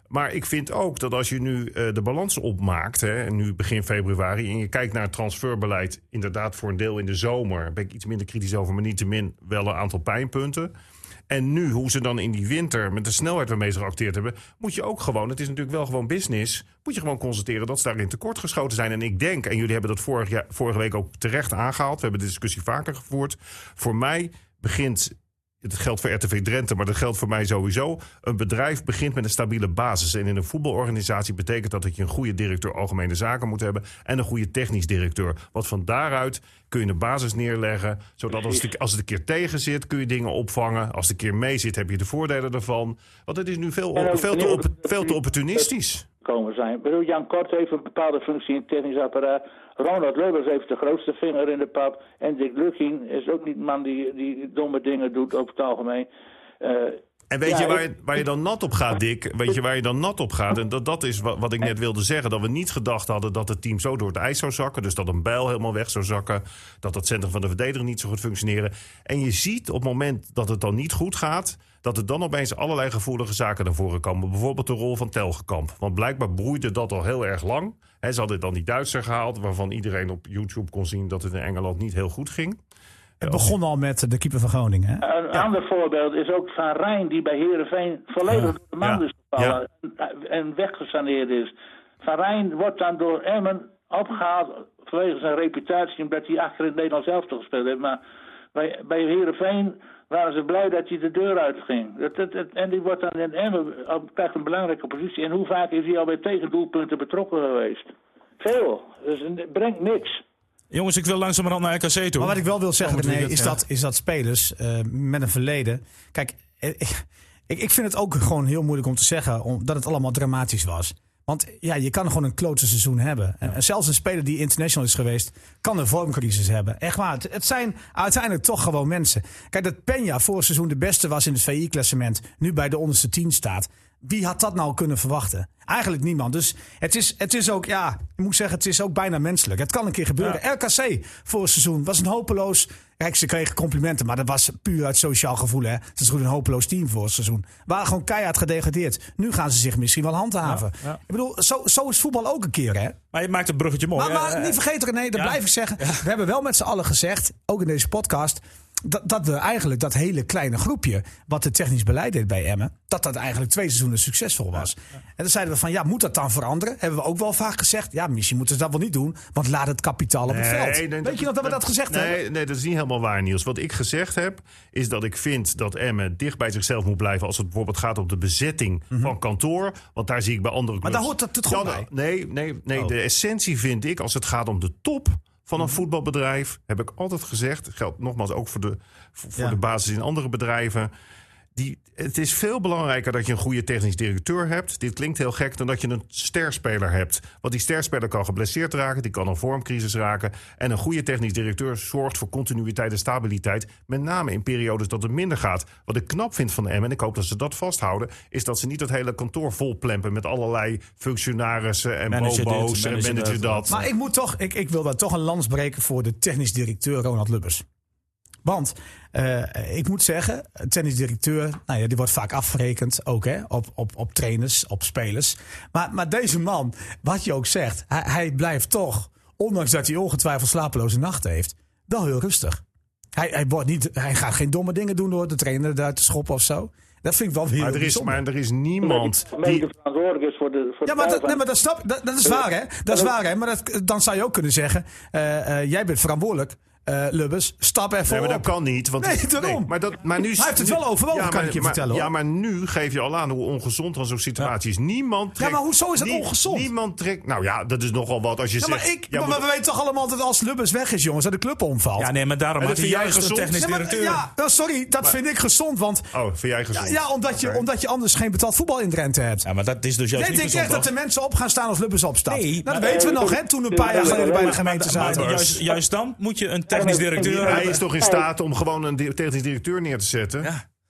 Speaker 5: Maar ik vind ook dat als je nu eh, de balans opmaakt, hè, en nu begin februari, en je kijkt naar het transferbeleid, inderdaad voor een deel in de zomer, ben ik iets minder kritisch over, maar niettemin wel een aantal pijnpunten. En nu, hoe ze dan in die winter, met de snelheid waarmee ze geacteerd hebben, moet je ook gewoon, het is natuurlijk wel gewoon business, moet je gewoon constateren dat ze daarin tekortgeschoten zijn. En ik denk, en jullie hebben dat vorig jaar, vorige week ook terecht aangehaald, we hebben de discussie vaker gevoerd. Voor mij begint het geldt voor RTV Drenthe, maar dat geldt voor mij sowieso. Een bedrijf begint met een stabiele basis. En in een voetbalorganisatie betekent dat dat je een goede directeur algemene zaken moet hebben. En een goede technisch directeur. Want van daaruit kun je de basis neerleggen. Zodat als het, als het een keer tegen zit, kun je dingen opvangen. Als het een keer mee zit, heb je de voordelen daarvan. Want het is nu veel,
Speaker 1: En ook
Speaker 5: veel, te,
Speaker 1: nieuwe-
Speaker 5: op- veel te opportunistisch.
Speaker 1: komen zijn. Ik bedoel, Jan Kort heeft een bepaalde functie in het technisch apparaat. Ronald Leubers heeft de grootste vinger in de pap. En Dick Lukking is ook niet een man die, die domme dingen doet over het algemeen. Eh,
Speaker 5: En weet
Speaker 1: Ja,
Speaker 5: je waar,
Speaker 1: ik-
Speaker 5: je waar je dan nat op gaat, Dick? Weet je waar je dan nat op gaat? En dat, dat is wat, wat ik net wilde zeggen. Dat we niet gedacht hadden dat het team zo door het ijs zou zakken. Dus dat een bijl helemaal weg zou zakken. Dat het centrum van de verdediger niet zo goed functioneren. En je ziet op het moment dat het dan niet goed gaat... dat er dan opeens allerlei gevoelige zaken naar voren komen. Bijvoorbeeld de rol van Telgekamp. Want blijkbaar broeide dat al heel erg lang. He, ze hadden dan die Duitser gehaald... waarvan iedereen op YouTube kon zien dat het in Engeland niet heel goed ging.
Speaker 4: Het begon al met de keeper van Groningen. Hè?
Speaker 1: Een ander voorbeeld is ook Van Rijn, die bij Herenveen volledig door de
Speaker 5: ja,
Speaker 1: man is gevallen en- en weggesaneerd is. Van Rijn wordt dan door Emmen opgehaald vanwege zijn reputatie, omdat hij achter het Nederlands elftal gespeeld heeft. Maar bij, bij Herenveen waren ze blij dat hij de deur uitging. Dat, dat, dat- en die wordt dan in Emmen op, krijgt een belangrijke positie. En hoe vaak is hij al bij tegendoelpunten betrokken geweest? Veel. Dus het brengt niks.
Speaker 2: Jongens, ik wil langzamerhand naar RKC toe.
Speaker 4: Maar wat ik wel wil zeggen,
Speaker 2: Komend
Speaker 4: René,
Speaker 2: weekend,
Speaker 4: is,
Speaker 2: ja.
Speaker 4: dat, is dat spelers eh, met een verleden. Kijk, eh, ik, ik vind het ook gewoon heel moeilijk om te zeggen om- dat het allemaal dramatisch was. Want ja, je kan gewoon een klote seizoen hebben. En zelfs een speler die international is geweest, kan een vormcrisis hebben. Echt waar. Het, het zijn uiteindelijk toch gewoon mensen. Kijk, dat Peña vorig seizoen de beste was in het VI-klassement, nu bij de onderste tien staat. Wie had dat nou kunnen verwachten? Eigenlijk niemand. Dus het is, het is ook, ja, ik moet zeggen, het is ook bijna menselijk. Het kan een keer gebeuren. RKC vorig seizoen was een hopeloos. Kijk, ze kregen complimenten, maar dat was puur uit sociaal gevoel. Hè. Het is goed een hopeloos team vorig seizoen. Waren gewoon keihard gedegradeerd. Nu gaan ze zich misschien wel handhaven.
Speaker 2: ja.
Speaker 4: Ik bedoel, zo, zo is voetbal ook een keer, hè?
Speaker 2: Maar je maakt het bruggetje mooi.
Speaker 4: Maar, maar
Speaker 2: Eh, eh,
Speaker 4: niet vergeten, René, dat
Speaker 2: ja.
Speaker 4: blijf ik zeggen. We hebben wel met z'n allen gezegd, ook in deze podcast. Dat, dat we eigenlijk dat hele kleine groepje. wat het technisch beleid deed bij Emmen. dat dat eigenlijk twee seizoenen succesvol was. En dan zeiden we van ja, moet dat dan veranderen? Hebben we ook wel vaak gezegd. ja, misschien moeten ze dat wel niet doen. want laat het kapitaal op het veld.
Speaker 5: nee,
Speaker 4: Weet je nog dat we dat gezegd
Speaker 5: nee,
Speaker 4: hebben?
Speaker 5: Nee, dat is niet helemaal waar, Niels. Wat ik gezegd heb, is dat ik vind dat Emmen dicht bij zichzelf moet blijven... als het bijvoorbeeld gaat om de bezetting van kantoor. Want daar zie ik bij andere clubs...
Speaker 4: Mhm. daar hoort dat het goed
Speaker 5: Ja, nou,
Speaker 4: bij. Oh.
Speaker 5: Nee, nee, nee de essentie vind ik, als het gaat om de top van
Speaker 4: Mhm.
Speaker 5: een voetbalbedrijf... heb ik altijd gezegd, geldt nogmaals ook voor de, voor, voor
Speaker 4: Ja.
Speaker 5: de basis in andere bedrijven... Die, het is veel belangrijker dat je een goede technisch directeur hebt. Dit klinkt heel gek dan dat je een sterspeler hebt. Want die sterspeler kan geblesseerd raken, die kan een vormcrisis raken. En een goede technisch directeur zorgt voor continuïteit en stabiliteit. Met name in periodes dat het minder gaat. Wat ik knap vind van Emmen, en ik hoop dat ze dat vasthouden... is dat ze niet het hele kantoor volplempen met allerlei functionarissen... en
Speaker 2: Manager dit,
Speaker 5: bobo's en
Speaker 2: manager dat.
Speaker 5: manager dat. eh,
Speaker 4: Maar ik, moet toch, ik, ik wil daar toch een lans breken voor de technisch directeur Ronald Lubbers. Want eh, ik moet zeggen, tennisdirecteur, nou ja, die wordt vaak afgerekend ook hè, op, op, op trainers, op spelers. Maar, maar deze man, wat je ook zegt, hij, hij blijft toch, ondanks dat hij ongetwijfeld slapeloze nachten heeft, wel heel rustig. Hij, hij, wordt niet, hij gaat geen domme dingen doen door de trainer daar te schoppen of zo. Dat vind ik wel heel
Speaker 5: Maar er is,
Speaker 4: bijzonder.
Speaker 5: maar er is
Speaker 1: Omdat
Speaker 5: niemand
Speaker 1: die
Speaker 5: die...
Speaker 1: gemeente verantwoordelijk is voor de. Voor
Speaker 4: Ja,
Speaker 1: de
Speaker 4: maar dat,
Speaker 1: veiligheid.
Speaker 4: nee, maar dat, snap, dat, dat is waar, hè? Dat is waar, hè? Maar dat, dan zou je ook kunnen zeggen: eh, eh, jij bent verantwoordelijk, eh, Lubbers. Stap even
Speaker 5: Nee, maar dat
Speaker 4: op.
Speaker 5: kan niet. Want
Speaker 4: Nee, daarom.
Speaker 5: maar dat, maar nu,
Speaker 4: Hij heeft het wel overwogen, kan
Speaker 5: maar-
Speaker 4: ik je
Speaker 5: maar-
Speaker 4: vertellen, hoor.
Speaker 5: Ja, maar nu geef je al aan hoe ongezond dan zo'n situatie is. Niemand trekt,
Speaker 4: maar hoezo is dat ongezond?
Speaker 5: Niemand trekt... Nou ja, dat is nogal wat als je
Speaker 4: Ja,
Speaker 5: zegt...
Speaker 4: maar ik,
Speaker 5: ja,
Speaker 4: maar,
Speaker 5: maar-
Speaker 4: we weten toch allemaal dat als Lubbers weg is, jongens, dat de club omvalt.
Speaker 2: Ja, nee, maar daarom
Speaker 5: Maar
Speaker 2: had
Speaker 5: dat
Speaker 2: hij
Speaker 5: vind jij
Speaker 2: juist een
Speaker 5: gezond?
Speaker 2: technisch
Speaker 4: Ja, maar-
Speaker 2: directeur.
Speaker 4: ja, eh, sorry, dat vind ik gezond. Want
Speaker 5: Oh, vind jij
Speaker 4: ja,
Speaker 5: gezond?
Speaker 4: ja, omdat, je,
Speaker 5: Oké.
Speaker 4: omdat je anders geen betaald voetbal in Drenthe hebt.
Speaker 2: Ja, maar dat is dus juist
Speaker 4: Jij
Speaker 2: niet
Speaker 4: denkt
Speaker 2: gezond,
Speaker 4: echt dat
Speaker 2: toch?
Speaker 4: de mensen op gaan staan als Lubbers opstaat.
Speaker 2: Nee,
Speaker 4: Nou, dat
Speaker 2: maar-
Speaker 4: weten we nog, hè? Toen een paar jaar geleden bij de gemeente Oh,
Speaker 2: Maar- maar
Speaker 4: zaten.
Speaker 2: juist, juist dan moet je een technisch directeur
Speaker 5: Hij
Speaker 2: hebben.
Speaker 5: is
Speaker 4: oh.
Speaker 5: toch in staat om gewoon een di- technisch directeur neer te zetten?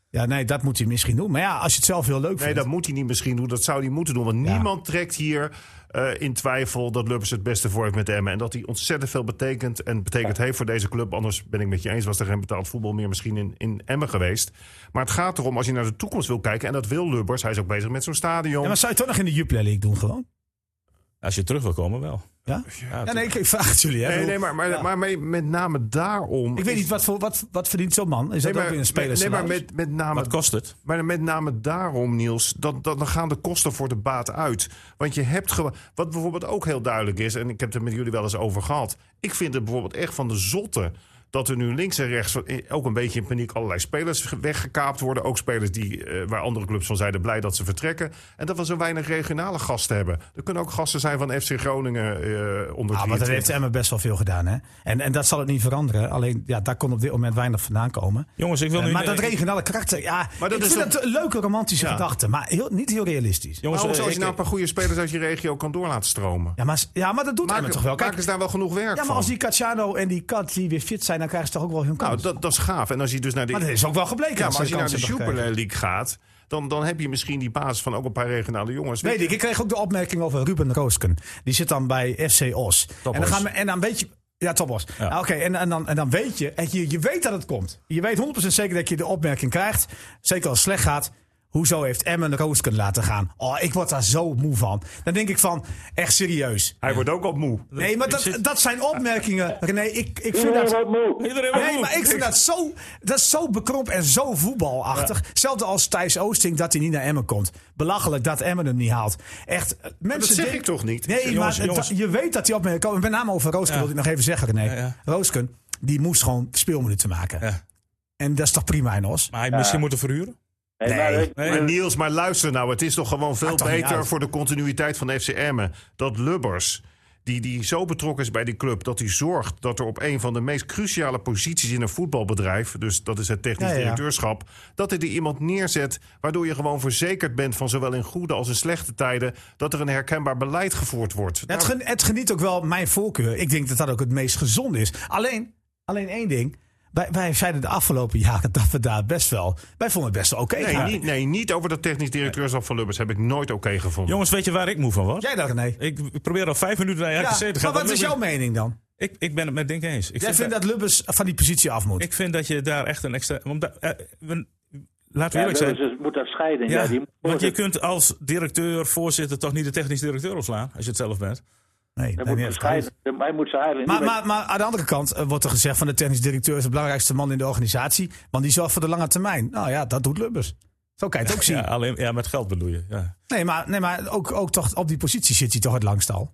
Speaker 4: Ja, nee, dat moet hij misschien doen. Maar ja, als je het zelf heel leuk
Speaker 5: Nee,
Speaker 4: vindt.
Speaker 5: dat moet hij niet misschien doen. Dat zou hij moeten doen. Want niemand trekt hier eh, in twijfel dat Lubbers het beste voor heeft met Emmen. En dat hij ontzettend veel betekent en betekent heeft voor deze club. Anders ben ik met je eens, was er geen betaald voetbal meer misschien in, in Emmen geweest. Maar het gaat erom, als je naar de toekomst wil kijken... en dat wil Lubbers, hij is ook bezig met zo'n stadion.
Speaker 4: Ja, maar zou je het toch nog in de Jupiler League doen gewoon?
Speaker 2: Als je terug wil komen, wel.
Speaker 4: Ja?
Speaker 2: Ja,
Speaker 4: Ja, nee, ik, ik vraag het jullie. Hè. Ik
Speaker 5: Nee,
Speaker 4: bedoel-
Speaker 5: nee, maar, maar, maar mee- met name daarom...
Speaker 4: Ik weet
Speaker 5: is-
Speaker 4: niet, wat, voor, wat, wat verdient zo'n man? Is
Speaker 5: Nee,
Speaker 4: dat
Speaker 5: maar,
Speaker 4: ook weer een speler?
Speaker 5: nee, maar met, met name
Speaker 2: Wat kost het?
Speaker 5: Maar met name daarom, Niels, dat, dat, dan gaan de kosten voor de baat uit. Want je hebt gewoon. Wat bijvoorbeeld ook heel duidelijk is, en ik heb het er met jullie wel eens over gehad. Ik vind het bijvoorbeeld echt van de zotte. Dat er nu links en rechts van- eh, ook een beetje in paniek allerlei spelers ge- weggekaapt worden. Ook spelers die, eh, waar andere clubs van zeiden blij dat ze vertrekken. En dat we zo weinig regionale gasten hebben. Er kunnen ook gasten zijn van FC Groningen eh onder
Speaker 4: Ah, maar daar heeft
Speaker 5: 23.
Speaker 4: Emma best wel veel gedaan. Hè? En, en dat zal het niet veranderen. Alleen, ja, daar kon op dit moment weinig vandaan komen. Eh,
Speaker 2: Jongens, ik wil nu...
Speaker 4: maar dat
Speaker 2: ik-
Speaker 4: regionale karakter, ja,
Speaker 5: Maar dat
Speaker 4: ik
Speaker 5: is
Speaker 4: vind
Speaker 5: ook-
Speaker 4: dat een leuke romantische
Speaker 5: Ja.
Speaker 4: gedachte. Maar heel, niet heel realistisch.
Speaker 2: Jongens,
Speaker 5: Nou,
Speaker 2: eh,
Speaker 5: als je
Speaker 2: ik-
Speaker 5: nou een paar goede spelers uit je regio kan door laten stromen.
Speaker 4: Ja, maar, ja, maar dat doet Emma
Speaker 5: Maak,
Speaker 4: toch wel. Kijk,
Speaker 5: maken ze daar wel genoeg werk
Speaker 4: ja,
Speaker 5: van?
Speaker 4: maar als die Cacciano en die Kat die weer fit zijn, dan krijgen ze toch ook wel hun kans.
Speaker 5: Nou, dat, dat is gaaf. En als je dus naar de,
Speaker 4: maar dat is ook wel gebleken.
Speaker 5: ja,
Speaker 4: dat
Speaker 5: maar
Speaker 4: ze
Speaker 5: als je naar de
Speaker 4: kansen hebben
Speaker 5: Super
Speaker 4: gekregen.
Speaker 5: League gaat, dan, dan heb je misschien die basis van ook een paar regionale jongens.
Speaker 4: Weet ik, ik kreeg ook de opmerking over Ruben Roosken. Die zit dan bij FC Os. En dan,
Speaker 2: Os.
Speaker 4: gaan we, en dan weet je... Ja, Topos.
Speaker 2: Ja.
Speaker 4: Nou, Oké, en, en, dan, en dan weet je, en je, je weet dat het komt. Je weet 100% zeker dat je de opmerking krijgt. Zeker als het slecht gaat. Hoezo heeft Emmen Roosken laten gaan? Oh, ik word daar zo moe van. Dan denk ik van, echt serieus.
Speaker 5: Hij wordt ook al moe.
Speaker 2: Dus
Speaker 4: Nee, maar dat, dat zijn opmerkingen. René, ik, ik vind
Speaker 1: Iedereen
Speaker 4: dat...
Speaker 1: wordt moe.
Speaker 2: Iedereen wil
Speaker 4: Nee,
Speaker 2: goed.
Speaker 4: maar ik vind dat zo, dat is zo bekromp en zo voetbalachtig. Hetzelfde als Thijs Oosting dat hij niet naar Emmen komt. Belachelijk dat Emmen hem niet haalt. Echt, eh, mensen
Speaker 5: zeg
Speaker 4: denken-
Speaker 5: ik toch niet?
Speaker 4: Nee,
Speaker 2: Jongens,
Speaker 4: maar het-
Speaker 2: jongens.
Speaker 4: je weet dat hij opmerkingen komen. Met name over Roosken
Speaker 2: Ja.
Speaker 4: wil ik nog even zeggen, René.
Speaker 2: ja.
Speaker 4: Roosken, die moest gewoon speelminuten maken.
Speaker 2: Ja.
Speaker 4: En dat is toch prima, Enos?
Speaker 2: Maar hij misschien moeten verhuren?
Speaker 1: Nee, maar ik-
Speaker 2: Nee.
Speaker 5: Maar Niels, maar luister nou, het is toch gewoon veel
Speaker 4: Maakt eh, Ah, toch niet
Speaker 5: beter
Speaker 4: uit.
Speaker 5: voor de continuïteit van FC Emmen dat Lubbers, die, die zo betrokken is bij die club, dat hij zorgt dat er op een van de meest cruciale posities in een voetbalbedrijf, dus dat is het technisch
Speaker 4: Ja, ja.
Speaker 5: directeurschap, dat hij er iemand neerzet waardoor je gewoon verzekerd bent van zowel in goede als in slechte tijden dat er een herkenbaar beleid gevoerd wordt. Nou,
Speaker 4: Het, gen- het geniet ook wel mijn voorkeur. Ik denk dat dat ook het meest gezonde is. Alleen, alleen één ding. Wij, wij zeiden de afgelopen jaren dat we daar best wel... Wij vonden het best wel oké.
Speaker 5: Nee,
Speaker 4: gaan.
Speaker 5: niet, nee, niet over dat technisch directeurschap van Lubbers heb ik nooit oké gevonden.
Speaker 2: Jongens, weet je waar ik moe van was?
Speaker 4: Jij dat, René?
Speaker 2: Ik probeer al vijf minuten naar
Speaker 4: Ja,
Speaker 2: RKC te gaan.
Speaker 4: maar wat
Speaker 2: Dat
Speaker 4: is
Speaker 2: lukt
Speaker 4: jouw
Speaker 2: niet.
Speaker 4: mening dan?
Speaker 2: Ik, ik ben het met Dink eens. Ik
Speaker 4: Jij
Speaker 2: vind
Speaker 4: vindt
Speaker 2: dat,
Speaker 4: dat Lubbers van die positie af moet?
Speaker 2: ik vind dat je daar echt een extra... Want daar- eh, we- laten
Speaker 1: Ja,
Speaker 2: we eerlijk zijn.
Speaker 1: Willis moet dat scheiden. Ja,
Speaker 2: Ja,
Speaker 1: die moet
Speaker 2: want je
Speaker 1: voorzitter.
Speaker 2: kunt als directeur, voorzitter toch niet de technisch directeur opslaan als je het zelf bent.
Speaker 1: Dat
Speaker 4: nee,
Speaker 1: moet
Speaker 4: nee, nee, dat kan
Speaker 1: bescheiden.
Speaker 4: niet.
Speaker 1: Hij moet zijn eigen.
Speaker 4: Maar, maar, maar aan de andere kant eh, wordt er gezegd van de technisch directeur is de belangrijkste man in de organisatie. Want die zorgt voor de lange termijn. Nou ja, dat doet Lubbers. Zo kan je het ook zien.
Speaker 2: Ja, alleen, ja met geld bedoel je. Ja.
Speaker 4: Nee, maar, nee, maar ook, ook toch op die positie zit hij toch het langst al.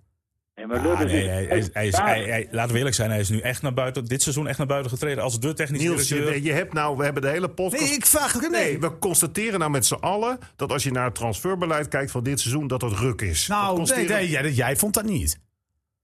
Speaker 1: Nee, maar
Speaker 2: Ah,
Speaker 1: Lubbers
Speaker 2: nee,
Speaker 1: is-
Speaker 2: hij, hij is, hij is, hij- hij- laten we eerlijk zijn, hij is nu echt naar buiten, dit seizoen echt naar buiten getreden als de technisch
Speaker 5: Niels,
Speaker 2: directeur.
Speaker 5: je, je hebt nou, we hebben de hele podcast.
Speaker 4: Nee, ik vraag René.
Speaker 5: Nee, we constateren nou met z'n allen dat als je naar het transferbeleid kijkt van dit seizoen, dat dat ruk is. Dat
Speaker 4: nou, nee,
Speaker 5: constateren-
Speaker 4: nee, jij, jij vond dat niet.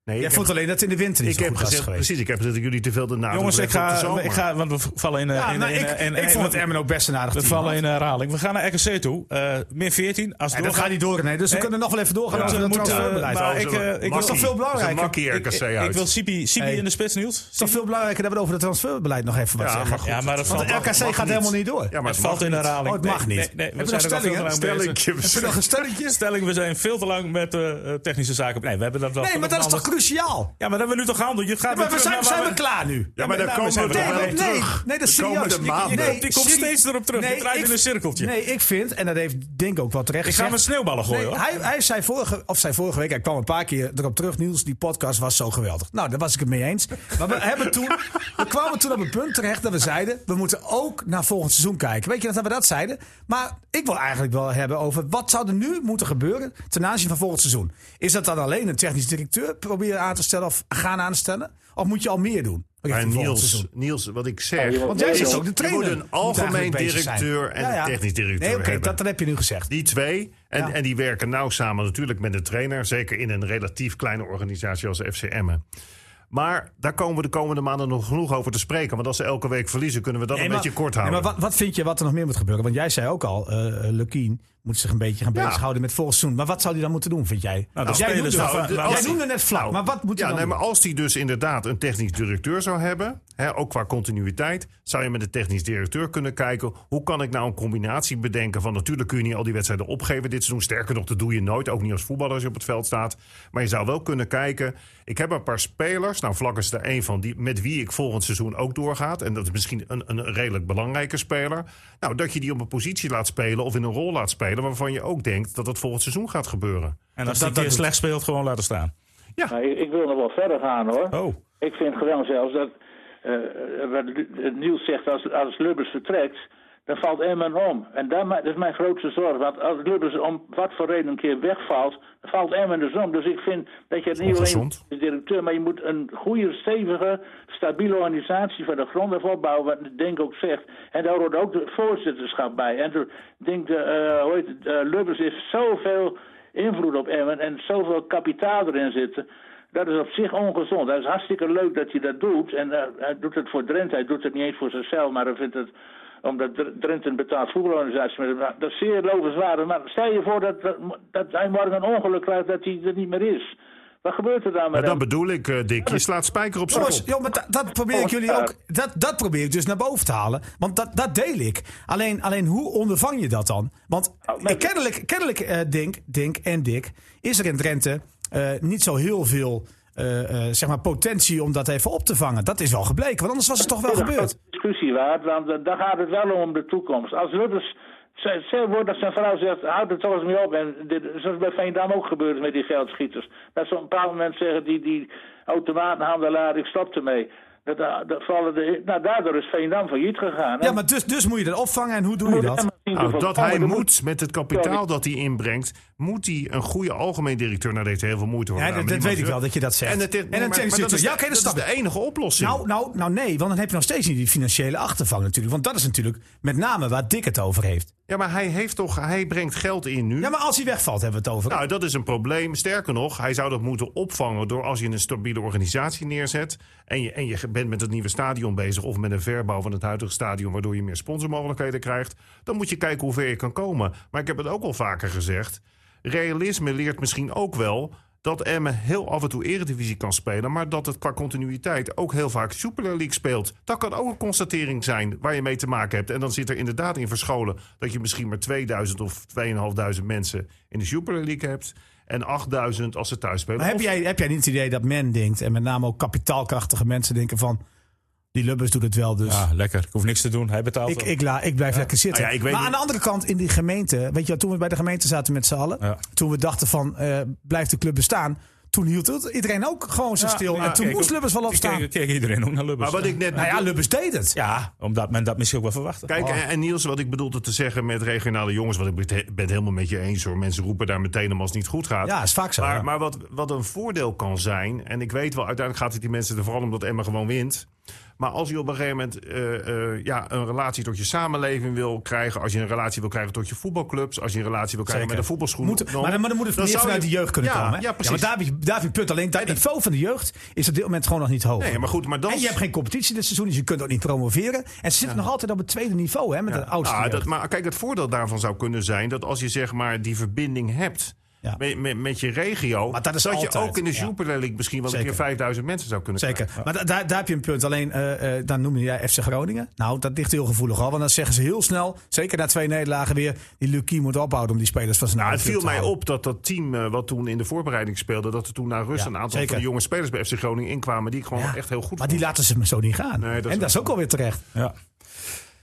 Speaker 5: Nee,
Speaker 4: Jij
Speaker 5: ik
Speaker 4: vond
Speaker 5: heb,
Speaker 4: alleen dat in de winter niet
Speaker 5: ik
Speaker 4: zo
Speaker 5: heb
Speaker 4: goed was
Speaker 5: gezegd,
Speaker 4: geweest.
Speaker 5: precies, ik heb gezegd dat jullie te veel de nadruk
Speaker 2: Jongens, ik
Speaker 5: leggen op
Speaker 2: ga,
Speaker 5: de zomer.
Speaker 2: ik ga, want we vallen in, eh,
Speaker 4: Ja,
Speaker 2: in,
Speaker 4: nou,
Speaker 2: in,
Speaker 4: ik,
Speaker 2: in-
Speaker 4: ik
Speaker 2: in-
Speaker 4: vond het Emmen ook best een aardig
Speaker 2: We
Speaker 4: team.
Speaker 2: vallen in herhaling. We gaan naar RKC toe. Eh min 14. Als
Speaker 4: En dat
Speaker 2: doorgaan-
Speaker 4: gaat niet door, nee. Dus we
Speaker 2: Nee.
Speaker 4: kunnen nog wel even doorgaan
Speaker 2: Ja,
Speaker 4: over
Speaker 2: we
Speaker 4: dat
Speaker 2: moeten-
Speaker 4: transferbeleid.
Speaker 2: maar
Speaker 4: Het
Speaker 2: ik, eh, ik was
Speaker 4: toch veel belangrijker.
Speaker 5: Makkie
Speaker 2: Ik,
Speaker 5: RKC
Speaker 2: ik, ik
Speaker 5: uit.
Speaker 2: wil Sipi, Sipi
Speaker 4: Hey.
Speaker 2: in de spits, Niels.
Speaker 4: is toch veel belangrijker dat we het over het transferbeleid nog even wat
Speaker 5: Ja,
Speaker 4: zeggen.
Speaker 5: maar goed.
Speaker 2: Ja, maar dat
Speaker 4: Want
Speaker 2: valt,
Speaker 4: de
Speaker 5: mag-
Speaker 4: RKC
Speaker 5: mag
Speaker 4: gaat
Speaker 5: niet.
Speaker 4: helemaal niet door.
Speaker 5: ja, maar
Speaker 2: het
Speaker 5: het
Speaker 2: valt in herhaling.
Speaker 4: Oh, het mag
Speaker 2: Nee,
Speaker 4: niet.
Speaker 2: nee,
Speaker 4: Hebben
Speaker 2: nee,
Speaker 4: we
Speaker 2: we
Speaker 4: nog
Speaker 2: zijn er al veel te
Speaker 4: stellingen?
Speaker 2: lang mee bezig.
Speaker 5: Stellingje.
Speaker 4: Is er nog een stelletje?
Speaker 2: Stelling, we zijn veel te lang met eh, eh, technische zaken. Nee, we hebben dat wel.
Speaker 4: Nee, maar dat is toch
Speaker 2: behandeld.
Speaker 4: cruciaal.
Speaker 2: Ja, maar dat hebben we nu toch gehandeld. Je gaat
Speaker 4: Ja, maar
Speaker 2: weer terug
Speaker 4: we zijn,
Speaker 2: naar
Speaker 4: zijn
Speaker 2: waar
Speaker 4: we klaar nu.
Speaker 5: Ja, maar daar
Speaker 2: nou,
Speaker 5: komen
Speaker 2: zijn
Speaker 5: we
Speaker 2: we
Speaker 5: toch
Speaker 2: daar
Speaker 5: wel
Speaker 2: wel
Speaker 4: Nee,
Speaker 5: op
Speaker 2: op
Speaker 4: nee,
Speaker 5: terug.
Speaker 4: nee, dat is
Speaker 5: De komende
Speaker 4: serieus. Je- je-
Speaker 5: maanden.
Speaker 4: nee,
Speaker 2: Die komt
Speaker 4: zie-
Speaker 2: steeds erop terug. Die draait
Speaker 4: ik-
Speaker 2: in een cirkeltje.
Speaker 4: Nee, ik vind, en dat heeft Dink ook wel terecht
Speaker 2: Ik ga met
Speaker 4: gezegd.
Speaker 2: sneeuwballen gooien
Speaker 4: Nee,
Speaker 2: hoor.
Speaker 4: hij, hij zei vorige, of zei vorige week, hij kwam een paar keer erop terug. Niels, die podcast was zo geweldig. Nou, daar was ik het mee eens. Maar we, hebben toen, we kwamen toen op een punt terecht dat we zeiden... we moeten ook naar volgend seizoen kijken. Weet je dat we dat zeiden? Maar ik wil eigenlijk wel hebben over... wat zou er nu moeten gebeuren ten aanzien van volgend seizoen? Is dat dan alleen een technisch directeur proberen aan te stellen... of gaan aanstellen? Of moet je al meer doen?
Speaker 5: Maar
Speaker 4: richting volgend
Speaker 5: Niels,
Speaker 4: seizoen?
Speaker 5: Niels, wat ik zeg.
Speaker 1: Ja, want
Speaker 4: Jij
Speaker 5: is
Speaker 4: zegt ook de trainer.
Speaker 5: Je moet een
Speaker 4: moet eigenlijk
Speaker 5: algemeen
Speaker 4: bezig zijn.
Speaker 5: directeur en
Speaker 4: Ja, ja.
Speaker 5: een technisch directeur
Speaker 4: Nee, oké,
Speaker 5: hebben.
Speaker 4: dat, dat heb je nu gezegd.
Speaker 5: Die twee. En,
Speaker 4: Ja.
Speaker 5: en die werken nauw samen natuurlijk met de trainer. Zeker in een relatief kleine organisatie als FC Emmen. Maar daar komen we de komende maanden nog genoeg over te spreken. Want als ze elke week verliezen, kunnen we dat een
Speaker 4: Nee,
Speaker 5: beetje
Speaker 4: maar-
Speaker 5: kort houden.
Speaker 4: nee, maar wat, wat vind je wat er nog meer moet gebeuren? Want jij zei ook al, eh eh, Lukien moet zich een beetje gaan
Speaker 5: Ja.
Speaker 4: bezighouden met volgend seizoen. Maar wat zou hij dan moeten doen, vind jij?
Speaker 2: Nou,
Speaker 4: Want
Speaker 2: de
Speaker 4: jij
Speaker 2: spelers
Speaker 4: noemde-
Speaker 2: van-
Speaker 4: jij
Speaker 2: laten we-
Speaker 4: noemde net flauw, maar wat moet
Speaker 5: ja,
Speaker 4: hij dan
Speaker 5: nee, maar
Speaker 4: doen?
Speaker 5: als die dus inderdaad een technisch directeur zou hebben, hè, ook qua continuïteit, zou je met de technisch directeur kunnen kijken hoe kan ik nou een combinatie bedenken van natuurlijk kun je niet al die wedstrijden opgeven dit seizoen. Sterker nog, dat doe je nooit, ook niet als voetballer als je op het veld staat. Maar je zou wel kunnen kijken, ik heb een paar spelers, nou Vlak is er één van, die, met wie ik volgend seizoen ook doorgaat. En dat is misschien een, een redelijk belangrijke speler. Nou, dat je die op een positie laat spelen of in een rol laat spelen waarvan je ook denkt dat dat volgend seizoen gaat gebeuren.
Speaker 2: En als
Speaker 4: dat-
Speaker 2: die keer
Speaker 4: dat-
Speaker 2: slecht speelt, gewoon laten staan.
Speaker 1: Maar ik, ik wil nog wel verder gaan hoor.
Speaker 2: Oh.
Speaker 1: Ik vind gewoon zelfs dat, eh, wat Lu- eh, Niels zegt, als, als Lubbers vertrekt, dan valt Emmen om. En dat, ma- dat is mijn grootste zorg, want als Lubbers om wat voor reden een keer wegvalt, dan valt Emmen dus om. Dus ik vind dat je het niet alleen
Speaker 5: ongezond.
Speaker 1: de directeur, maar je moet een goede, stevige, stabiele organisatie van de grond af opbouwen, wat Denk ook zegt. En daar hoort ook de voorzitterschap bij. En toen denk ik, eh, hoe heet het, eh, Lubbers heeft zoveel invloed op Emmen en zoveel kapitaal erin zitten. Dat is op zich ongezond. Dat is hartstikke leuk dat hij dat doet. En eh, hij doet het voor Drenthe. Hij doet het niet eens voor zichzelf, maar hij vindt het omdat Dr- Drenthe een betaald voetbalorganisatie is. Maar Dat is zeer lovenswaardig. Maar stel je voor dat, dat, dat hij morgen een ongeluk krijgt dat hij er niet meer is. Wat gebeurt er dan met
Speaker 5: Maar dat
Speaker 1: hem?
Speaker 5: bedoel ik, eh, Dick. Je slaat spijker op zijn
Speaker 4: Jongens,
Speaker 5: kop.
Speaker 4: joh, maar dat, dat probeer ik jullie ook. Dat, dat probeer ik dus naar boven te halen. Want dat, dat deel ik. Alleen, alleen hoe ondervang je dat dan? Want
Speaker 1: maar-
Speaker 4: eh, kennelijk, kennelijk eh, Dink, Dink en Dick is er in Drenthe eh, niet zo heel veel eh, eh, zeg maar potentie om dat even op te vangen. Dat is wel gebleken, want anders was het toch wel gebeurd.
Speaker 1: discussie waard, want eh, daar gaat het wel om de toekomst. Als Lubbers, ze- stel wordt dat zijn vrouw zegt, houd het toch eens mee op. En dit, zoals bij Veendam ook gebeurd is met die geldschieters. Dat ze op een bepaald moment zeggen, die, die automaathandelaar, ik stop ermee. Dat, eh, dat vallen de, nou, daardoor is Veendam failliet gegaan.
Speaker 4: Ja, maar dus, dus moet je dat opvangen en hoe doe
Speaker 1: En-
Speaker 4: je dat?
Speaker 5: Nou, dat hij
Speaker 1: Er
Speaker 5: moet, met het kapitaal dat hij inbrengt, moet hij een goede algemeen directeur. Nou, deed hij heel veel moeite voor.
Speaker 4: Ja,
Speaker 5: Nou,
Speaker 4: dat-
Speaker 5: maar
Speaker 4: dat
Speaker 5: die
Speaker 4: weet ik
Speaker 5: man-
Speaker 4: wel dat je dat zegt.
Speaker 5: En, het,
Speaker 4: En
Speaker 5: nee,
Speaker 4: een
Speaker 5: maar- maar
Speaker 4: technisch
Speaker 5: dat is,
Speaker 4: directeur. Ja, oké, dat
Speaker 5: dat is
Speaker 4: snap
Speaker 5: de enige oplossing.
Speaker 4: Nou, nou, nou nee, want dan heb je nog steeds niet die financiële achtervang natuurlijk. Want dat is natuurlijk met name waar Dick het over heeft.
Speaker 5: ja, maar hij, heeft toch, hij brengt geld in nu.
Speaker 4: Ja, maar als hij wegvalt hebben we het over.
Speaker 5: Nou, dat is een probleem. Sterker nog, hij zou dat moeten opvangen door als je een stabiele organisatie neerzet. En je, en je bent met het nieuwe stadion bezig of met een verbouw van het huidige stadion, waardoor je meer sponsormogelijkheden krijgt. Dan moet je kijken hoe ver je kan komen. Maar ik heb het ook al vaker gezegd. Realisme leert misschien ook wel dat Emmen heel af en toe eredivisie kan spelen, maar dat het qua continuïteit ook heel vaak Super League speelt. Dat kan ook een constatering zijn waar je mee te maken hebt. En dan zit er inderdaad in verscholen dat je misschien maar 2000 of 2500 mensen in de Super League hebt en 8000 als ze thuis spelen.
Speaker 4: Maar heb
Speaker 5: Of-
Speaker 4: jij, heb jij niet het idee dat men denkt, en met name ook kapitaalkrachtige mensen denken van, die Lubbers doet het wel, dus
Speaker 2: Ja, Ah, lekker. Ik hoef niks te doen. Hij betaalt
Speaker 4: ik,
Speaker 2: wel.
Speaker 4: ik, la, ik blijf lekker zitten.
Speaker 5: Nou ja, ik weet
Speaker 4: maar aan
Speaker 5: niet-
Speaker 4: de andere kant, in die gemeente, weet je wel, toen we bij de gemeente zaten met z'n allen,
Speaker 2: Ja.
Speaker 4: toen we dachten van, eh, blijft de club bestaan, toen hield het iedereen ook gewoon zo
Speaker 2: Ja,
Speaker 4: stil.
Speaker 2: ja,
Speaker 4: en toen
Speaker 2: kijk,
Speaker 4: moest
Speaker 2: ook-
Speaker 4: Lubbers wel
Speaker 2: ik
Speaker 4: opstaan.
Speaker 2: Keek, keek iedereen ook naar Lubbers.
Speaker 5: maar wat ik net
Speaker 4: nou ja, Oh. Lubbers deed het.
Speaker 2: Ja, omdat men dat misschien ook wel verwachtte.
Speaker 5: Kijk, en- en Niels, wat ik bedoelde te zeggen met regionale jongens, want ik ben het- ben het helemaal met je eens hoor. Mensen roepen daar meteen om als het niet goed gaat.
Speaker 4: Ja, is vaak zo,
Speaker 5: Maar,
Speaker 4: ja.
Speaker 5: maar wat, wat een voordeel kan zijn, en ik weet wel, uiteindelijk gaat het die mensen er vooral omdat Emma gewoon wint. Maar als je op een gegeven moment eh, eh, ja, een relatie tot je samenleving wil krijgen, als je een relatie wil krijgen tot je voetbalclubs, als je een relatie wil
Speaker 4: Zeker.
Speaker 5: krijgen met een voetbalschoen.
Speaker 4: Moet, maar dan, maar dan moet het
Speaker 5: dan
Speaker 4: meer
Speaker 5: zou
Speaker 4: vanuit
Speaker 5: je-
Speaker 4: de jeugd kunnen
Speaker 5: ja,
Speaker 4: komen. hè?
Speaker 5: Ja, precies.
Speaker 4: maar daar heb, je, daar heb je het punt. Alleen dat niveau van de jeugd is op dit moment gewoon nog niet hoog.
Speaker 5: Nee, maar goed, maar dan...
Speaker 4: En je hebt geen competitie dit seizoen, dus je kunt ook niet promoveren. En ze zitten nog altijd op het tweede niveau, hè, met de oudste.
Speaker 5: Ah,
Speaker 4: jeugd.
Speaker 5: dat, maar kijk, het voordeel daarvan zou kunnen zijn dat als je zeg maar die verbinding hebt.
Speaker 4: Ja.
Speaker 5: met, met, met je regio.
Speaker 4: Maar dat is
Speaker 5: je
Speaker 4: altijd,
Speaker 5: ook in de
Speaker 4: ja.
Speaker 5: Jupiler League misschien wel
Speaker 4: Zeker.
Speaker 5: een keer 5000 mensen zou kunnen
Speaker 4: Zeker. Maar da- daar- daar heb je een punt. Alleen, eh, eh, dan noemde jij FC Groningen. Nou, dat ligt heel gevoelig al. Want dan zeggen ze heel snel, zeker na twee nederlagen weer... die Lucie moet ophouden om die spelers van zijn
Speaker 5: Nou,
Speaker 4: oude
Speaker 5: het viel
Speaker 4: club te
Speaker 5: mij
Speaker 4: houden.
Speaker 5: op dat dat team eh, wat toen in de voorbereiding speelde... dat er toen naar rust
Speaker 4: Ja,
Speaker 5: een aantal
Speaker 4: zeker.
Speaker 5: van de jonge spelers bij FC Groningen inkwamen... die ik gewoon
Speaker 4: Ja.
Speaker 5: echt heel goed
Speaker 4: Maar die
Speaker 5: vond.
Speaker 4: laten ze me zo niet gaan.
Speaker 5: Nee, dat is
Speaker 4: en dat
Speaker 5: ook
Speaker 4: is ook alweer terecht.
Speaker 2: Ja.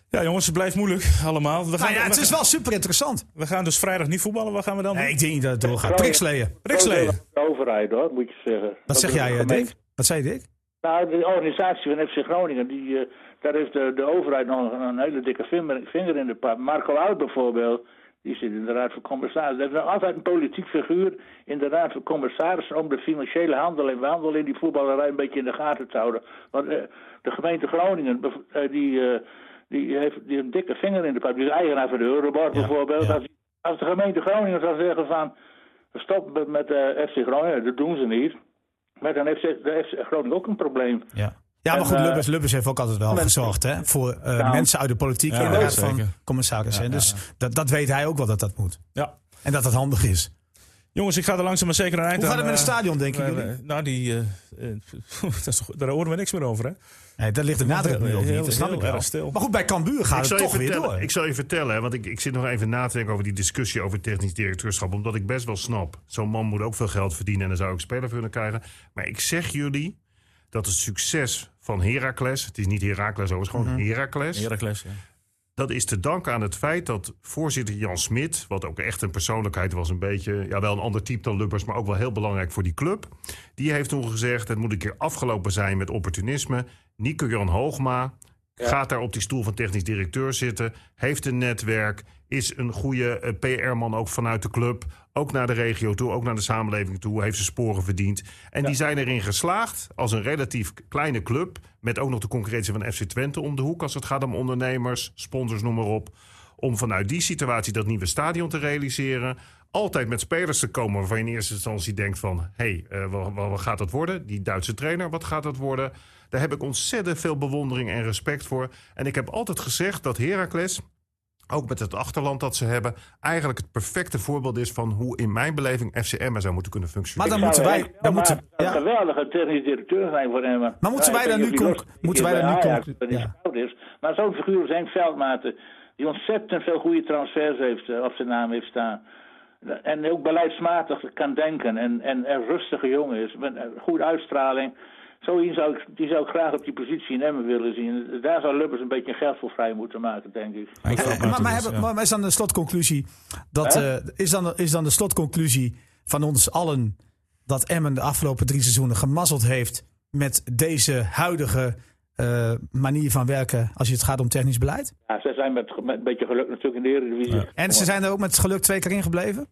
Speaker 2: ja, jongens, het blijft moeilijk allemaal. We gaan,
Speaker 4: Nou ja, het
Speaker 2: we,
Speaker 4: is wel super interessant.
Speaker 2: we gaan dus vrijdag niet voetballen. Wat gaan we dan doen?
Speaker 4: Nee, ik denk niet dat het doorgaat. Priksleeën.
Speaker 2: Riksleden.
Speaker 1: De overheid hoor, moet je zeggen.
Speaker 4: Wat zeg
Speaker 1: is
Speaker 4: jij,
Speaker 1: de
Speaker 4: eh,
Speaker 1: gemeente.
Speaker 4: Dick? Wat zei je, Dick?
Speaker 1: Nou, de organisatie van FC Groningen, die, eh, daar heeft de, de overheid nog een, een hele dikke vinger, vinger in de pap. Marco Oud bijvoorbeeld, die zit in de Raad van Commissarissen. Er is nog altijd een politiek figuur in de Raad van Commissarissen om de financiële handel en handel in die voetballerij een beetje in de gaten te houden. Want eh, de gemeente Groningen, bev- eh, die, eh, die heeft die een dikke vinger in de pap. Die is eigenaar van de Euroborg bijvoorbeeld. Als, als de gemeente Groningen zou zeggen van stop met, met eh, FC Groningen, dat doen ze niet. Maar dan heeft ze- dan heeft ze Groningen ook een probleem.
Speaker 4: Ja. Ja, maar
Speaker 1: En,
Speaker 4: goed,
Speaker 1: eh,
Speaker 4: Lubbers, Lubbers heeft ook altijd wel gezorgd hè, voor eh,
Speaker 1: Nou.
Speaker 4: mensen uit de politiek
Speaker 2: Ja,
Speaker 4: en de raad
Speaker 2: zeker.
Speaker 4: van commissarissen. dus Dat, dat weet hij ook wel dat dat moet.
Speaker 2: Ja.
Speaker 4: En dat dat handig is.
Speaker 2: Jongens, ik ga er langzaam maar zeker aan eind
Speaker 4: Hoe gaat
Speaker 2: aan,
Speaker 4: het met het
Speaker 2: eh,
Speaker 4: stadion, denken
Speaker 2: eh,
Speaker 4: jullie?
Speaker 2: eh, nou, die, eh, eh, dat is toch, daar horen we niks meer over, hè?
Speaker 4: Nee, daar ligt de nadruk nu ook
Speaker 2: heel-
Speaker 4: niet. Dat snap
Speaker 2: heel
Speaker 4: ik wel.
Speaker 2: erg stil.
Speaker 4: Maar goed, bij Cambuur gaat het
Speaker 5: zal je
Speaker 4: toch weer
Speaker 5: vertellen-
Speaker 4: door.
Speaker 5: Ik zal je vertellen, hè, want ik, ik zit nog even na te denken over die discussie over technisch directeurschap. Omdat ik best wel snap, zo'n man moet ook veel geld verdienen en dan zou ik speler voor kunnen krijgen. Maar ik zeg jullie dat het succes van Heracles, het is niet Heracles, het is gewoon
Speaker 4: Mhm.
Speaker 5: Heracles.
Speaker 2: Heracles, ja.
Speaker 5: Dat is te danken aan het feit dat voorzitter Jan Smit, wat ook echt een persoonlijkheid was, een beetje, ja, wel een ander type dan Lubbers, maar ook wel heel belangrijk voor die club. Die heeft toen gezegd: het moet een keer afgelopen zijn met opportunisme. Nico-Jan Hoogma gaat daar op die stoel van technisch directeur zitten, heeft een netwerk, is een goede eh, PR-man ook vanuit de club, ook naar de regio toe, ook naar de samenleving toe, heeft zijn sporen verdiend. En die zijn erin geslaagd als een relatief kleine club, met ook nog de concurrentie van FC Twente om de hoek als het gaat om ondernemers, sponsors, noem maar op, om vanuit die situatie dat nieuwe stadion te realiseren. Altijd met spelers te komen waarvan je in eerste instantie denkt van... hé, hey, eh, wa- wa- wat gaat dat worden? Die Duitse trainer, wat gaat dat worden? Daar heb ik ontzettend veel bewondering en respect voor. En ik heb altijd gezegd dat Heracles, ook met het achterland dat ze hebben... eigenlijk het perfecte voorbeeld is van hoe in mijn beleving FCM zou moeten kunnen
Speaker 4: Maar
Speaker 5: functioneren.
Speaker 4: dan moeten
Speaker 1: Nou,
Speaker 4: wij...
Speaker 1: echt, maar
Speaker 4: Dan moeten,
Speaker 1: het zou
Speaker 4: ja.
Speaker 1: Een geweldige technisch directeur zijn voor hem.
Speaker 4: Maar moeten wij daar nu conc- moeten wij daar nu conc- ja.
Speaker 1: is. Maar zo'n figuur als Henk Veldmaten, die ontzettend veel goede transfers heeft, eh, op zijn naam heeft staan. En ook beleidsmatig kan denken en, en een rustige jongen is, met een goede uitstraling. Zo iemand zou ik, die zou ik graag op die positie in Emmen willen zien. Daar zou Lubbers een beetje geld voor vrij moeten maken, denk ik.
Speaker 2: Ik ga
Speaker 4: Eh,
Speaker 2: ook
Speaker 4: maar,
Speaker 2: naartoe,
Speaker 4: maar,
Speaker 2: dus,
Speaker 4: hebben-
Speaker 2: ja.
Speaker 4: maar- maar is dan de slotconclusie dat
Speaker 1: Hè?
Speaker 4: eh, is, dan, is dan de slotconclusie van ons allen dat Emmen de afgelopen drie seizoenen gemazzeld heeft met deze huidige eh, manier van werken als je het gaat om technisch beleid?
Speaker 1: Ja, ze zijn met, met een beetje geluk natuurlijk in de Eredivisie.
Speaker 4: En ze zijn er ook met geluk twee keer in gebleven?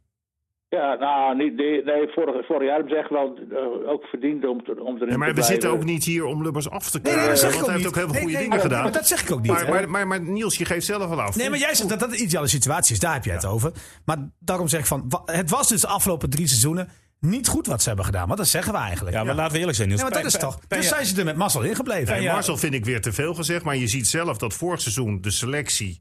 Speaker 1: Ja, nou, niet, nee, nee, vorig, vorig jaar hebben ze echt wel eh, ook verdiend om, te, om erin
Speaker 5: Ja,
Speaker 1: te
Speaker 5: maar we
Speaker 1: blijven.
Speaker 5: zitten ook niet hier om Lubbers af te
Speaker 4: Nee,
Speaker 5: krijgen.
Speaker 4: nee, dat zeg ik
Speaker 5: want
Speaker 4: ook
Speaker 5: hij
Speaker 4: niet.
Speaker 5: heeft ook heel veel
Speaker 4: Nee,
Speaker 5: goede
Speaker 4: nee,
Speaker 5: dingen
Speaker 4: maar-
Speaker 5: gedaan.
Speaker 4: Maar dat zeg ik ook niet.
Speaker 5: Maar, maar, maar, maar Niels, je geeft zelf wel af.
Speaker 4: Nee, maar jij zegt dat dat de ideale situatie is. Daar heb je het over. Maar daarom zeg ik van, wa- het was dus de afgelopen drie seizoenen niet goed wat ze hebben gedaan. Want dat zeggen we eigenlijk.
Speaker 2: Ja, maar laten we eerlijk zijn.
Speaker 4: Ja, maar dat is toch. Dus zijn ze er met mazzel in gebleven.
Speaker 5: Nee, Marcel vind ik weer te veel gezegd. Maar je ziet zelf dat vorig seizoen de selectie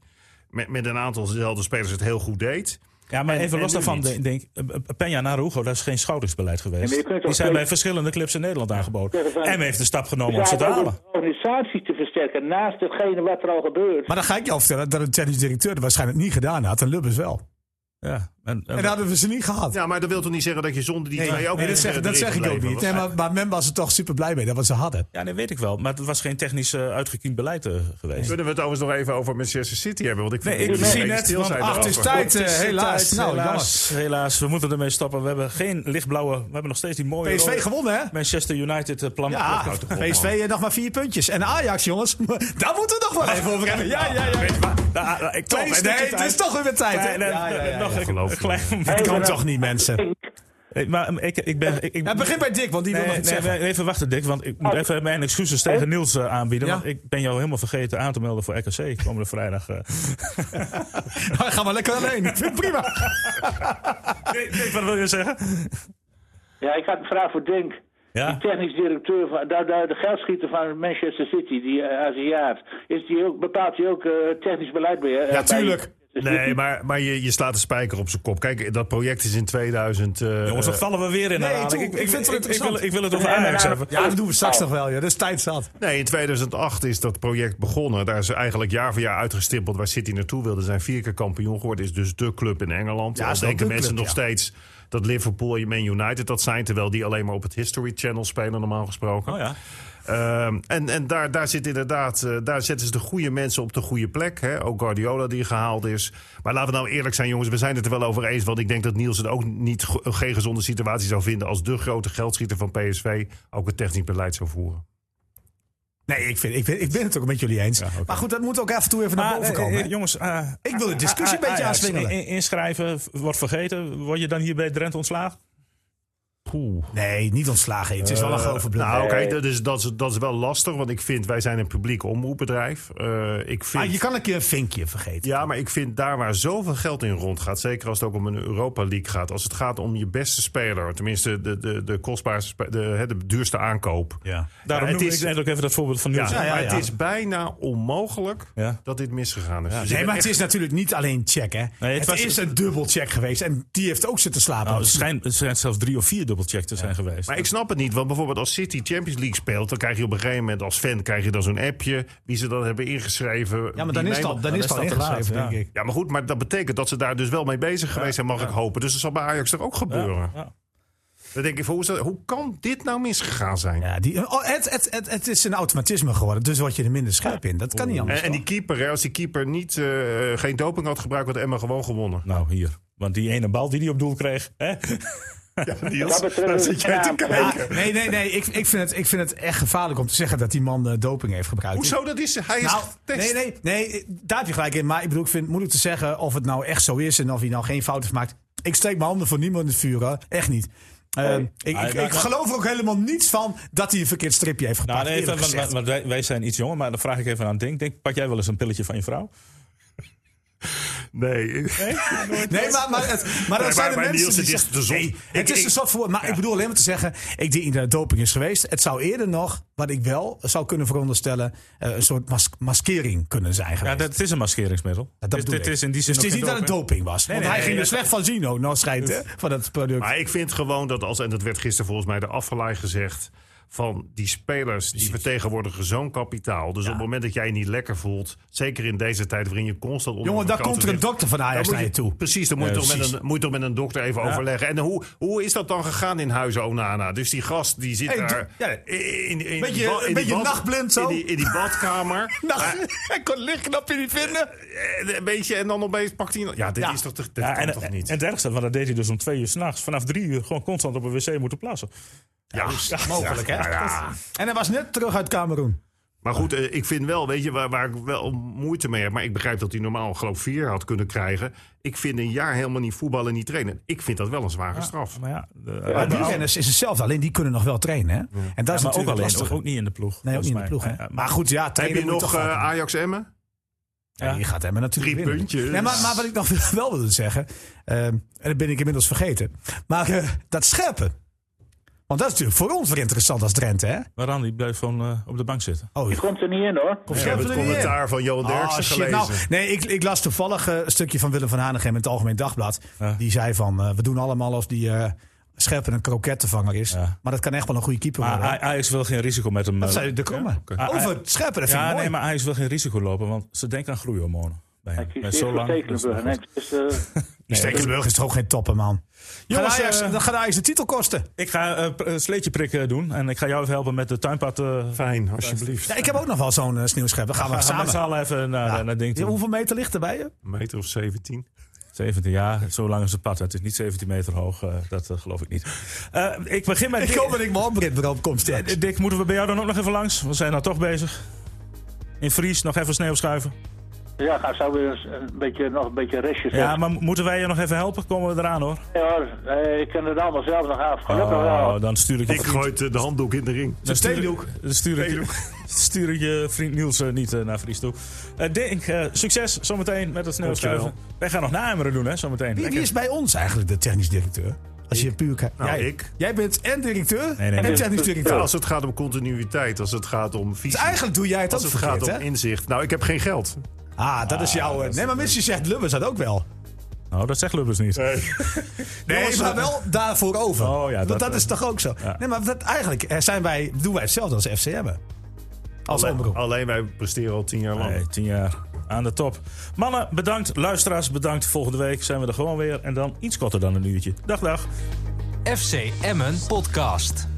Speaker 5: met, met een aantal dezelfde spelers het heel goed deed.
Speaker 2: Ja, maar
Speaker 5: En-
Speaker 2: even
Speaker 5: en
Speaker 2: los
Speaker 5: nu
Speaker 2: daarvan,
Speaker 5: niet.
Speaker 2: denk, eh, eh, Peña Narugo, dat is geen schoudersbeleid
Speaker 1: maar je
Speaker 2: geweest.
Speaker 1: kunt toch
Speaker 2: Die zijn bij
Speaker 1: zeggen-
Speaker 2: verschillende clubs in Nederland aangeboden.
Speaker 1: Zeggen van-
Speaker 2: En heeft de stap genomen
Speaker 1: Ja,
Speaker 2: om ze te
Speaker 1: ook
Speaker 2: halen.
Speaker 1: om de organisatie te versterken naast hetgene wat er al gebeurt.
Speaker 4: Maar dan ga ik je al vertellen dat een technisch directeur het waarschijnlijk niet gedaan had. En Lubbers wel.
Speaker 2: Ja, en, en-
Speaker 4: En hadden we ze niet gehad.
Speaker 5: Ja, maar dat wil toch niet zeggen dat je zonder die
Speaker 4: Nee,
Speaker 5: twee ook...
Speaker 4: nee, dat
Speaker 5: niet,
Speaker 4: zeg,
Speaker 5: eh,
Speaker 4: dat
Speaker 5: erin
Speaker 4: zeg ik ook
Speaker 5: gebleven
Speaker 4: niet.
Speaker 5: was.
Speaker 4: Nee, maar, maar men was er toch super blij mee dat wat ze hadden.
Speaker 2: ja, dat weet ik wel. Maar het was geen technisch eh, uitgekiend beleid eh, geweest.
Speaker 5: Kunnen we het overigens nog even over Manchester City hebben? Want ik, vind
Speaker 2: Nee, ik
Speaker 5: dat jullie
Speaker 2: zie
Speaker 5: een beetje
Speaker 2: net,
Speaker 5: stil
Speaker 2: want
Speaker 5: zijn
Speaker 4: acht is
Speaker 5: daarover.
Speaker 4: tijd.
Speaker 2: Het is
Speaker 4: eh, helaas.
Speaker 2: tijd,
Speaker 4: Nou,
Speaker 2: helaas, helaas. We moeten ermee stoppen. We hebben geen lichtblauwe. We hebben nog steeds die mooie. rode
Speaker 4: PSV gewonnen, hè?
Speaker 2: Manchester United eh, plan.
Speaker 4: Ja,
Speaker 2: Blokhout.
Speaker 4: PSV eh, nog maar vier puntjes. En Ajax, jongens, daar moeten we nog wel even over hebben. Ja, ja, ja.
Speaker 2: Nou, nou, ik
Speaker 4: Twee-
Speaker 2: toch,
Speaker 4: nee,
Speaker 2: doet
Speaker 4: het is toch weer met tijd, hè?
Speaker 2: Klein-
Speaker 4: Ja, ja, ja,
Speaker 2: Nog
Speaker 5: ja,
Speaker 2: een-
Speaker 5: geloof
Speaker 2: een klein moment.
Speaker 4: Dat kan toch niet, mensen?
Speaker 2: Nee, Maar um, ik, ik ben. Ik, ik,
Speaker 4: Ja, begin bij Dick, want die wil
Speaker 2: Nee,
Speaker 4: nog iets
Speaker 2: nee,
Speaker 4: zeggen. Oh.
Speaker 2: nee, even wachten, Dick. Want ik moet even mijn excuses tegen Niels eh, aanbieden.
Speaker 4: Ja.
Speaker 2: Want ik ben jou helemaal vergeten aan te melden voor RKC komende vrijdag. eh.
Speaker 4: Maar Nou, Ga maar lekker alleen. Ik vind het
Speaker 2: Nou,
Speaker 4: prima.
Speaker 2: Dick, Dick, wat wil je zeggen?
Speaker 1: Ja, ik had een vraag voor Dink.
Speaker 2: Ja.
Speaker 4: eh,
Speaker 1: Die technisch directeur, van, daar, daar, de geldschieter van Manchester City, die eh, Aziat, is die ook, bepaalt hij ook eh, technisch beleid bij? eh, bij
Speaker 4: Ja, tuurlijk.
Speaker 1: Dus dit
Speaker 5: Nee, maar, maar je, je slaat de spijker op zijn kop. Kijk, dat project is in 2000... eh,
Speaker 2: Jongens, dan vallen we weer in
Speaker 4: nee,
Speaker 2: herhaling.
Speaker 4: toe,
Speaker 2: ik, ik,
Speaker 4: ik vind het
Speaker 2: ik, ik, wil,
Speaker 4: interessant.
Speaker 2: ik wil het over Ajax hebben. Oh.
Speaker 4: Ja, dat doen we straks nog wel. Ja. Dat is tijd zat.
Speaker 5: Nee, in 2008 is dat project begonnen. Daar is eigenlijk jaar voor jaar uitgestippeld waar City naartoe wilde. Zijn vier keer kampioen geworden. Is dus de club in Engeland.
Speaker 4: Ja,
Speaker 5: Dan
Speaker 4: is wel
Speaker 5: denken
Speaker 4: de
Speaker 5: mensen
Speaker 4: club,
Speaker 5: nog
Speaker 4: ja.
Speaker 5: steeds dat Liverpool en Man United dat zijn. Terwijl die alleen maar op het History Channel spelen normaal gesproken.
Speaker 2: Oh ja.
Speaker 5: Ehm, en en daar, daar zit inderdaad, eh, daar zetten ze de goede mensen op de goede plek. Hè? Ook Guardiola die gehaald is. Maar laten we nou eerlijk zijn, jongens, we zijn het er wel over eens. Want ik denk dat Niels het ook niet go- geen gezonde situatie zou vinden als de grote geldschieter van PSV ook het technisch beleid zou voeren.
Speaker 4: Nee, ik, vind, ik, ben, ik ben het ook met jullie eens. Maar goed, dat moet ook af en toe even naar
Speaker 2: Maar,
Speaker 4: boven
Speaker 2: eh,
Speaker 4: komen.
Speaker 2: eh, jongens, eh,
Speaker 4: Ik wil de discussie
Speaker 2: A-
Speaker 4: een beetje
Speaker 2: Ajax,
Speaker 4: aanswingelen.
Speaker 2: in- in- Inschrijven, v- wordt vergeten. Word je dan hier bij Drenthe ontslagen?
Speaker 5: Poeh.
Speaker 4: nee, niet ontslagen. Het is wel een
Speaker 2: Eh,
Speaker 4: grove blunder.
Speaker 5: Nou, oké, dat, is, dat, is, dat is wel lastig, want ik vind, wij zijn een publiek omroepbedrijf. Eh, ik vind,
Speaker 4: maar Ah, je kan een keer een vinkje vergeten.
Speaker 5: Ja, maar ik vind daar waar zoveel geld in rondgaat, zeker als het ook om een Europa League gaat, als het gaat om je beste speler, tenminste de, de, de kostbaarste, spe- de, hè, de duurste aankoop.
Speaker 4: Ja.
Speaker 2: Daarom
Speaker 5: Ja, het
Speaker 2: noemde
Speaker 5: is-
Speaker 2: ik net ook even dat voorbeeld van
Speaker 5: Ja,
Speaker 2: Niels.
Speaker 5: maar
Speaker 4: ja, ja.
Speaker 5: het is bijna onmogelijk
Speaker 2: Ja.
Speaker 5: dat dit misgegaan is. Dus ik
Speaker 4: Nee,
Speaker 5: ben
Speaker 4: maar het
Speaker 5: echt-
Speaker 4: is natuurlijk niet alleen check, hè.
Speaker 2: het
Speaker 4: het
Speaker 2: was-
Speaker 4: is een dubbelcheck geweest. En die heeft ook zitten slapen.
Speaker 2: Nou, er, schijnt, er schijnt zelfs drie of vier dubbelcheck te zijn geweest.
Speaker 5: Maar ik snap het niet, want bijvoorbeeld als City Champions League speelt, dan krijg je op een gegeven moment als fan krijg je dan zo'n appje wie ze dan hebben ingeschreven.
Speaker 4: ja, maar
Speaker 5: Die
Speaker 4: dan is
Speaker 5: nemen-
Speaker 4: dat, dan is dat ingeschreven,
Speaker 2: ja.
Speaker 4: denk ik.
Speaker 5: Ja, maar goed, maar dat betekent dat ze daar dus wel mee bezig geweest zijn, mag ik hopen. Dus dat zal bij Ajax er ook gebeuren.
Speaker 2: ja.
Speaker 5: Dan denk ik, van, hoe, is dat, hoe kan dit nou misgegaan zijn?
Speaker 4: Ja, die, oh, het, het, het, het is een automatisme geworden. Dus word je er minder scherp in. Dat kan niet anders.
Speaker 5: En, en die keeper, hè, als die keeper niet, eh, geen doping had gebruikt, had Emma gewoon gewonnen.
Speaker 2: Nou, hier. Want die ene bal die hij op doel kreeg. Hè?
Speaker 5: Niels,
Speaker 1: Wat betreft is het naam.
Speaker 4: Ja, nee, nee, nee. Ik, ik, vind het, ik vind het echt gevaarlijk om te zeggen dat die man eh, doping heeft gebruikt.
Speaker 5: Hoezo dat is? Hij is
Speaker 4: Nou,
Speaker 5: getest.
Speaker 4: nee, nee, nee, daar heb je gelijk in. Maar ik bedoel, ik vind het moeilijk te zeggen of het nou echt zo is en of hij nou geen fouten maakt. Ik steek mijn handen voor niemand in het vuur, hoor. echt niet. Ehm, ik,
Speaker 2: Maar
Speaker 4: ik,
Speaker 2: daar-
Speaker 4: ik geloof er ook helemaal niets van dat hij een verkeerd stripje heeft gepakt.
Speaker 2: Nou, nee,
Speaker 4: eerlijk
Speaker 2: want, want-
Speaker 4: gezegd.
Speaker 2: want wij, wij zijn iets jonger, maar dan vraag ik even aan Dink. Dink, pak jij wel eens een pilletje van je vrouw?
Speaker 5: Nee.
Speaker 4: Nee, maar, maar, het, maar dat
Speaker 5: maar-
Speaker 4: zijn de
Speaker 5: maar
Speaker 4: mensen
Speaker 5: Niels,
Speaker 4: die
Speaker 5: het is
Speaker 4: zeggen-
Speaker 5: de zon.
Speaker 4: Nee, het
Speaker 5: Ik-
Speaker 4: is
Speaker 5: ik-
Speaker 4: een soort voor. Maar ik bedoel alleen maar te zeggen, ik denk niet dat het doping is geweest. Het zou eerder nog, wat ik wel zou kunnen veronderstellen, eh, een soort mas- maskering kunnen zijn geweest.
Speaker 2: Ja, dat het is een maskeringsmiddel.
Speaker 4: dat
Speaker 2: dit,
Speaker 4: bedoel
Speaker 2: dit
Speaker 4: ik.
Speaker 2: is in die zin
Speaker 4: Dus het
Speaker 2: ook
Speaker 4: is niet
Speaker 2: geen
Speaker 4: dat het doping was. want
Speaker 2: nee,
Speaker 4: hij
Speaker 2: nee,
Speaker 4: ging
Speaker 2: nee.
Speaker 4: er slecht van zien, ook, nou schijnt, hè, van dat product.
Speaker 5: Maar ik vind gewoon dat als, en dat werd gisteren volgens mij de afvallei gezegd, van die spelers die vertegenwoordigen zo'n kapitaal. Dus op het moment dat jij je niet lekker voelt, zeker in deze tijd waarin je constant onder
Speaker 4: Jongen, daar
Speaker 5: vergrote
Speaker 4: komt er een
Speaker 5: druk-
Speaker 4: dokter van Ajax
Speaker 5: Dan moet
Speaker 4: naar je toe.
Speaker 5: Precies, dan moet je,
Speaker 2: Ja,
Speaker 5: toch,
Speaker 2: precies.
Speaker 5: Met een, moet je toch met een dokter even overleggen. En hoe, hoe is dat dan gegaan in huizen Onana? Dus die gast die zit
Speaker 4: Hey,
Speaker 5: daar
Speaker 4: do- ja.
Speaker 5: in, in, in
Speaker 4: Beetje-
Speaker 5: die ba- in
Speaker 4: een
Speaker 5: die
Speaker 4: beetje nachtblind zo.
Speaker 5: In die, in die badkamer.
Speaker 4: Nou, hij kon lichtknapje niet vinden.
Speaker 5: Eh, een beetje, en dan opeens pakt hij... Ja, dit
Speaker 4: Ja.
Speaker 5: is toch, dit
Speaker 2: Ja,
Speaker 5: kan
Speaker 2: en,
Speaker 5: toch
Speaker 2: en,
Speaker 5: niet?
Speaker 2: het ergste, want dat deed hij dus om twee uur s'nachts. Vanaf drie uur gewoon constant op een wc moeten plassen.
Speaker 5: ja,
Speaker 4: Mogelijk, hè?
Speaker 5: Ja, ja.
Speaker 4: En hij was net terug uit Cameroen.
Speaker 5: Maar goed, eh, ik vind wel, weet je, waar, waar ik wel moeite mee heb. Maar ik begrijp dat hij normaal, geloof ik, vier had kunnen krijgen. Ik vind een jaar helemaal niet voetballen en niet trainen. Ik vind dat wel een zware straf.
Speaker 2: Maar ja, de-
Speaker 4: Maar
Speaker 2: maar
Speaker 4: die
Speaker 2: ook-
Speaker 4: renners is hetzelfde, alleen die kunnen nog wel trainen. Hè? En dat is
Speaker 2: maar ook
Speaker 4: natuurlijk
Speaker 2: alleen,
Speaker 4: lastig.
Speaker 2: ook niet in de ploeg.
Speaker 4: Nee, ook niet in de ploeg.
Speaker 2: volgens
Speaker 4: Hè?
Speaker 2: mij. Eh, Maar-
Speaker 4: Maar goed, ja,
Speaker 5: Heb je
Speaker 4: trainen moet
Speaker 5: nog
Speaker 4: toch
Speaker 5: eh,
Speaker 4: altijd.
Speaker 5: Ajax Emmen?
Speaker 4: Ja, ah, je gaat hem natuurlijk
Speaker 5: Drie
Speaker 4: winnen.
Speaker 5: puntjes.
Speaker 4: Nee, maar, maar wat ik nog wel wilde zeggen, ehm, en dat ben ik inmiddels vergeten. Maar eh, dat scherpen. Want dat is natuurlijk voor ons weer interessant als Drenthe, hè?
Speaker 2: Maar Randy blijft gewoon eh, op de bank zitten.
Speaker 4: Oh,
Speaker 1: Komt er niet in hoor.
Speaker 5: Ik heb het commentaar van Johan
Speaker 4: Ah,
Speaker 5: Derksen
Speaker 4: shit.
Speaker 5: gelezen.
Speaker 4: Nou, nee, ik, ik las toevallig eh, een stukje van Willem van Hanegem in het Algemeen Dagblad.
Speaker 2: Ja.
Speaker 4: Die zei van, eh, we doen allemaal als die eh scherpen een krokettenvanger is.
Speaker 2: Ja.
Speaker 4: Maar dat kan echt wel een goede keeper
Speaker 2: Maar
Speaker 4: worden.
Speaker 2: Aj- Ajax wil geen risico met hem.
Speaker 4: dat
Speaker 2: eh,
Speaker 4: zou er komen.
Speaker 2: Ah, ah,
Speaker 4: Over scherpen, dat vind ik
Speaker 2: Ja,
Speaker 4: mooi.
Speaker 2: nee, maar Ajax wil geen risico lopen, want ze denken aan groeihormonen. Bij hem.
Speaker 1: Ik kies
Speaker 2: Met
Speaker 1: eerst
Speaker 2: zo
Speaker 1: voor
Speaker 2: lang.
Speaker 1: Stekelenburg.
Speaker 2: dat
Speaker 1: Nee,
Speaker 2: is-
Speaker 1: het is, eh,
Speaker 2: Nee,
Speaker 4: Stekelenburg is toch ook geen topper, man.
Speaker 2: Jongens,
Speaker 4: Jongens, Ajax,
Speaker 2: eh,
Speaker 4: dan gaat Ajax de titel kosten.
Speaker 2: Ik ga eh, p- eh, sleetje prikken doen en ik ga jou even helpen met de tuinpad. eh,
Speaker 5: Fijn, alsjeblieft.
Speaker 4: Ja, ik heb ook nog wel zo'n eh, sneeuwscherper. Gaan we
Speaker 2: gaan we
Speaker 4: samen.
Speaker 2: met z'n allen even naar,
Speaker 4: Ja.
Speaker 2: naar ding
Speaker 4: Ja,
Speaker 2: toe.
Speaker 4: hoeveel meter ligt er bij je?
Speaker 5: Een meter of 17.
Speaker 2: 17 jaar, zo lang is het pad. Het is niet 17 meter hoog, eh, dat eh, geloof ik niet. Eh, ik begin met...
Speaker 4: Ik hoop dat ik mijn handbrit erop kom straks.
Speaker 2: Dick, moeten we bij jou dan ook nog even langs? We zijn nou toch bezig. In Fries, nog even sneeuw schuiven.
Speaker 1: eh, ja, gaan zo weer eens een beetje, nog een beetje restjes
Speaker 2: Ja, maar mo- moeten wij je nog even helpen? Komen we eraan hoor.
Speaker 1: Nee, hoor. Eh, ik kan het allemaal zelf nog af. Gelukkig wel.
Speaker 2: Oh, dan stuur ik je
Speaker 5: Ik gooi eh, de handdoek in de ring.
Speaker 2: Dan stuur ik-
Speaker 4: theedoek.
Speaker 2: Dan stuur ik, stuur ik je vriend Niels eh, niet eh, naar Fries toe. Eh Dink, eh, succes zometeen met het sneeuwschuiven. Wij gaan nog Nameren doen, hè, zometeen.
Speaker 4: Wie,
Speaker 2: Lekker.
Speaker 4: wie is bij ons eigenlijk de technisch directeur? Als je puur kijkt.
Speaker 5: Nou,
Speaker 4: jij,
Speaker 5: ik.
Speaker 4: jij bent en directeur
Speaker 2: nee, nee.
Speaker 4: en technisch directeur.
Speaker 5: Ja, als het gaat om continuïteit, als het gaat om visie.
Speaker 4: Dus eigenlijk doe jij het
Speaker 5: als
Speaker 4: ook
Speaker 5: het gaat
Speaker 4: verkeerd,
Speaker 5: om
Speaker 4: hè?
Speaker 5: inzicht. Nou, ik heb geen geld.
Speaker 4: Ah, dat is jouw... nee, maar Mitsi zegt Lubbers dat ook wel.
Speaker 2: Nou, dat zegt Lubbers niet.
Speaker 4: Nee, maar wel daarvoor over.
Speaker 2: Oh ja,
Speaker 4: Want
Speaker 2: dat,
Speaker 4: dat,
Speaker 2: eh,
Speaker 4: is toch ook zo.
Speaker 2: ja.
Speaker 4: Nee, maar dat, eigenlijk eh, zijn wij, doen wij hetzelfde als FCM. Als
Speaker 5: Alleen,
Speaker 4: omroep.
Speaker 5: alleen wij presteren al tien jaar lang.
Speaker 2: Nee, tien jaar aan de top. Mannen, bedankt. Luisteraars, bedankt. Volgende week zijn we er gewoon weer. En dan iets korter dan een uurtje. Dag, dag.
Speaker 3: FC Emmen Podcast.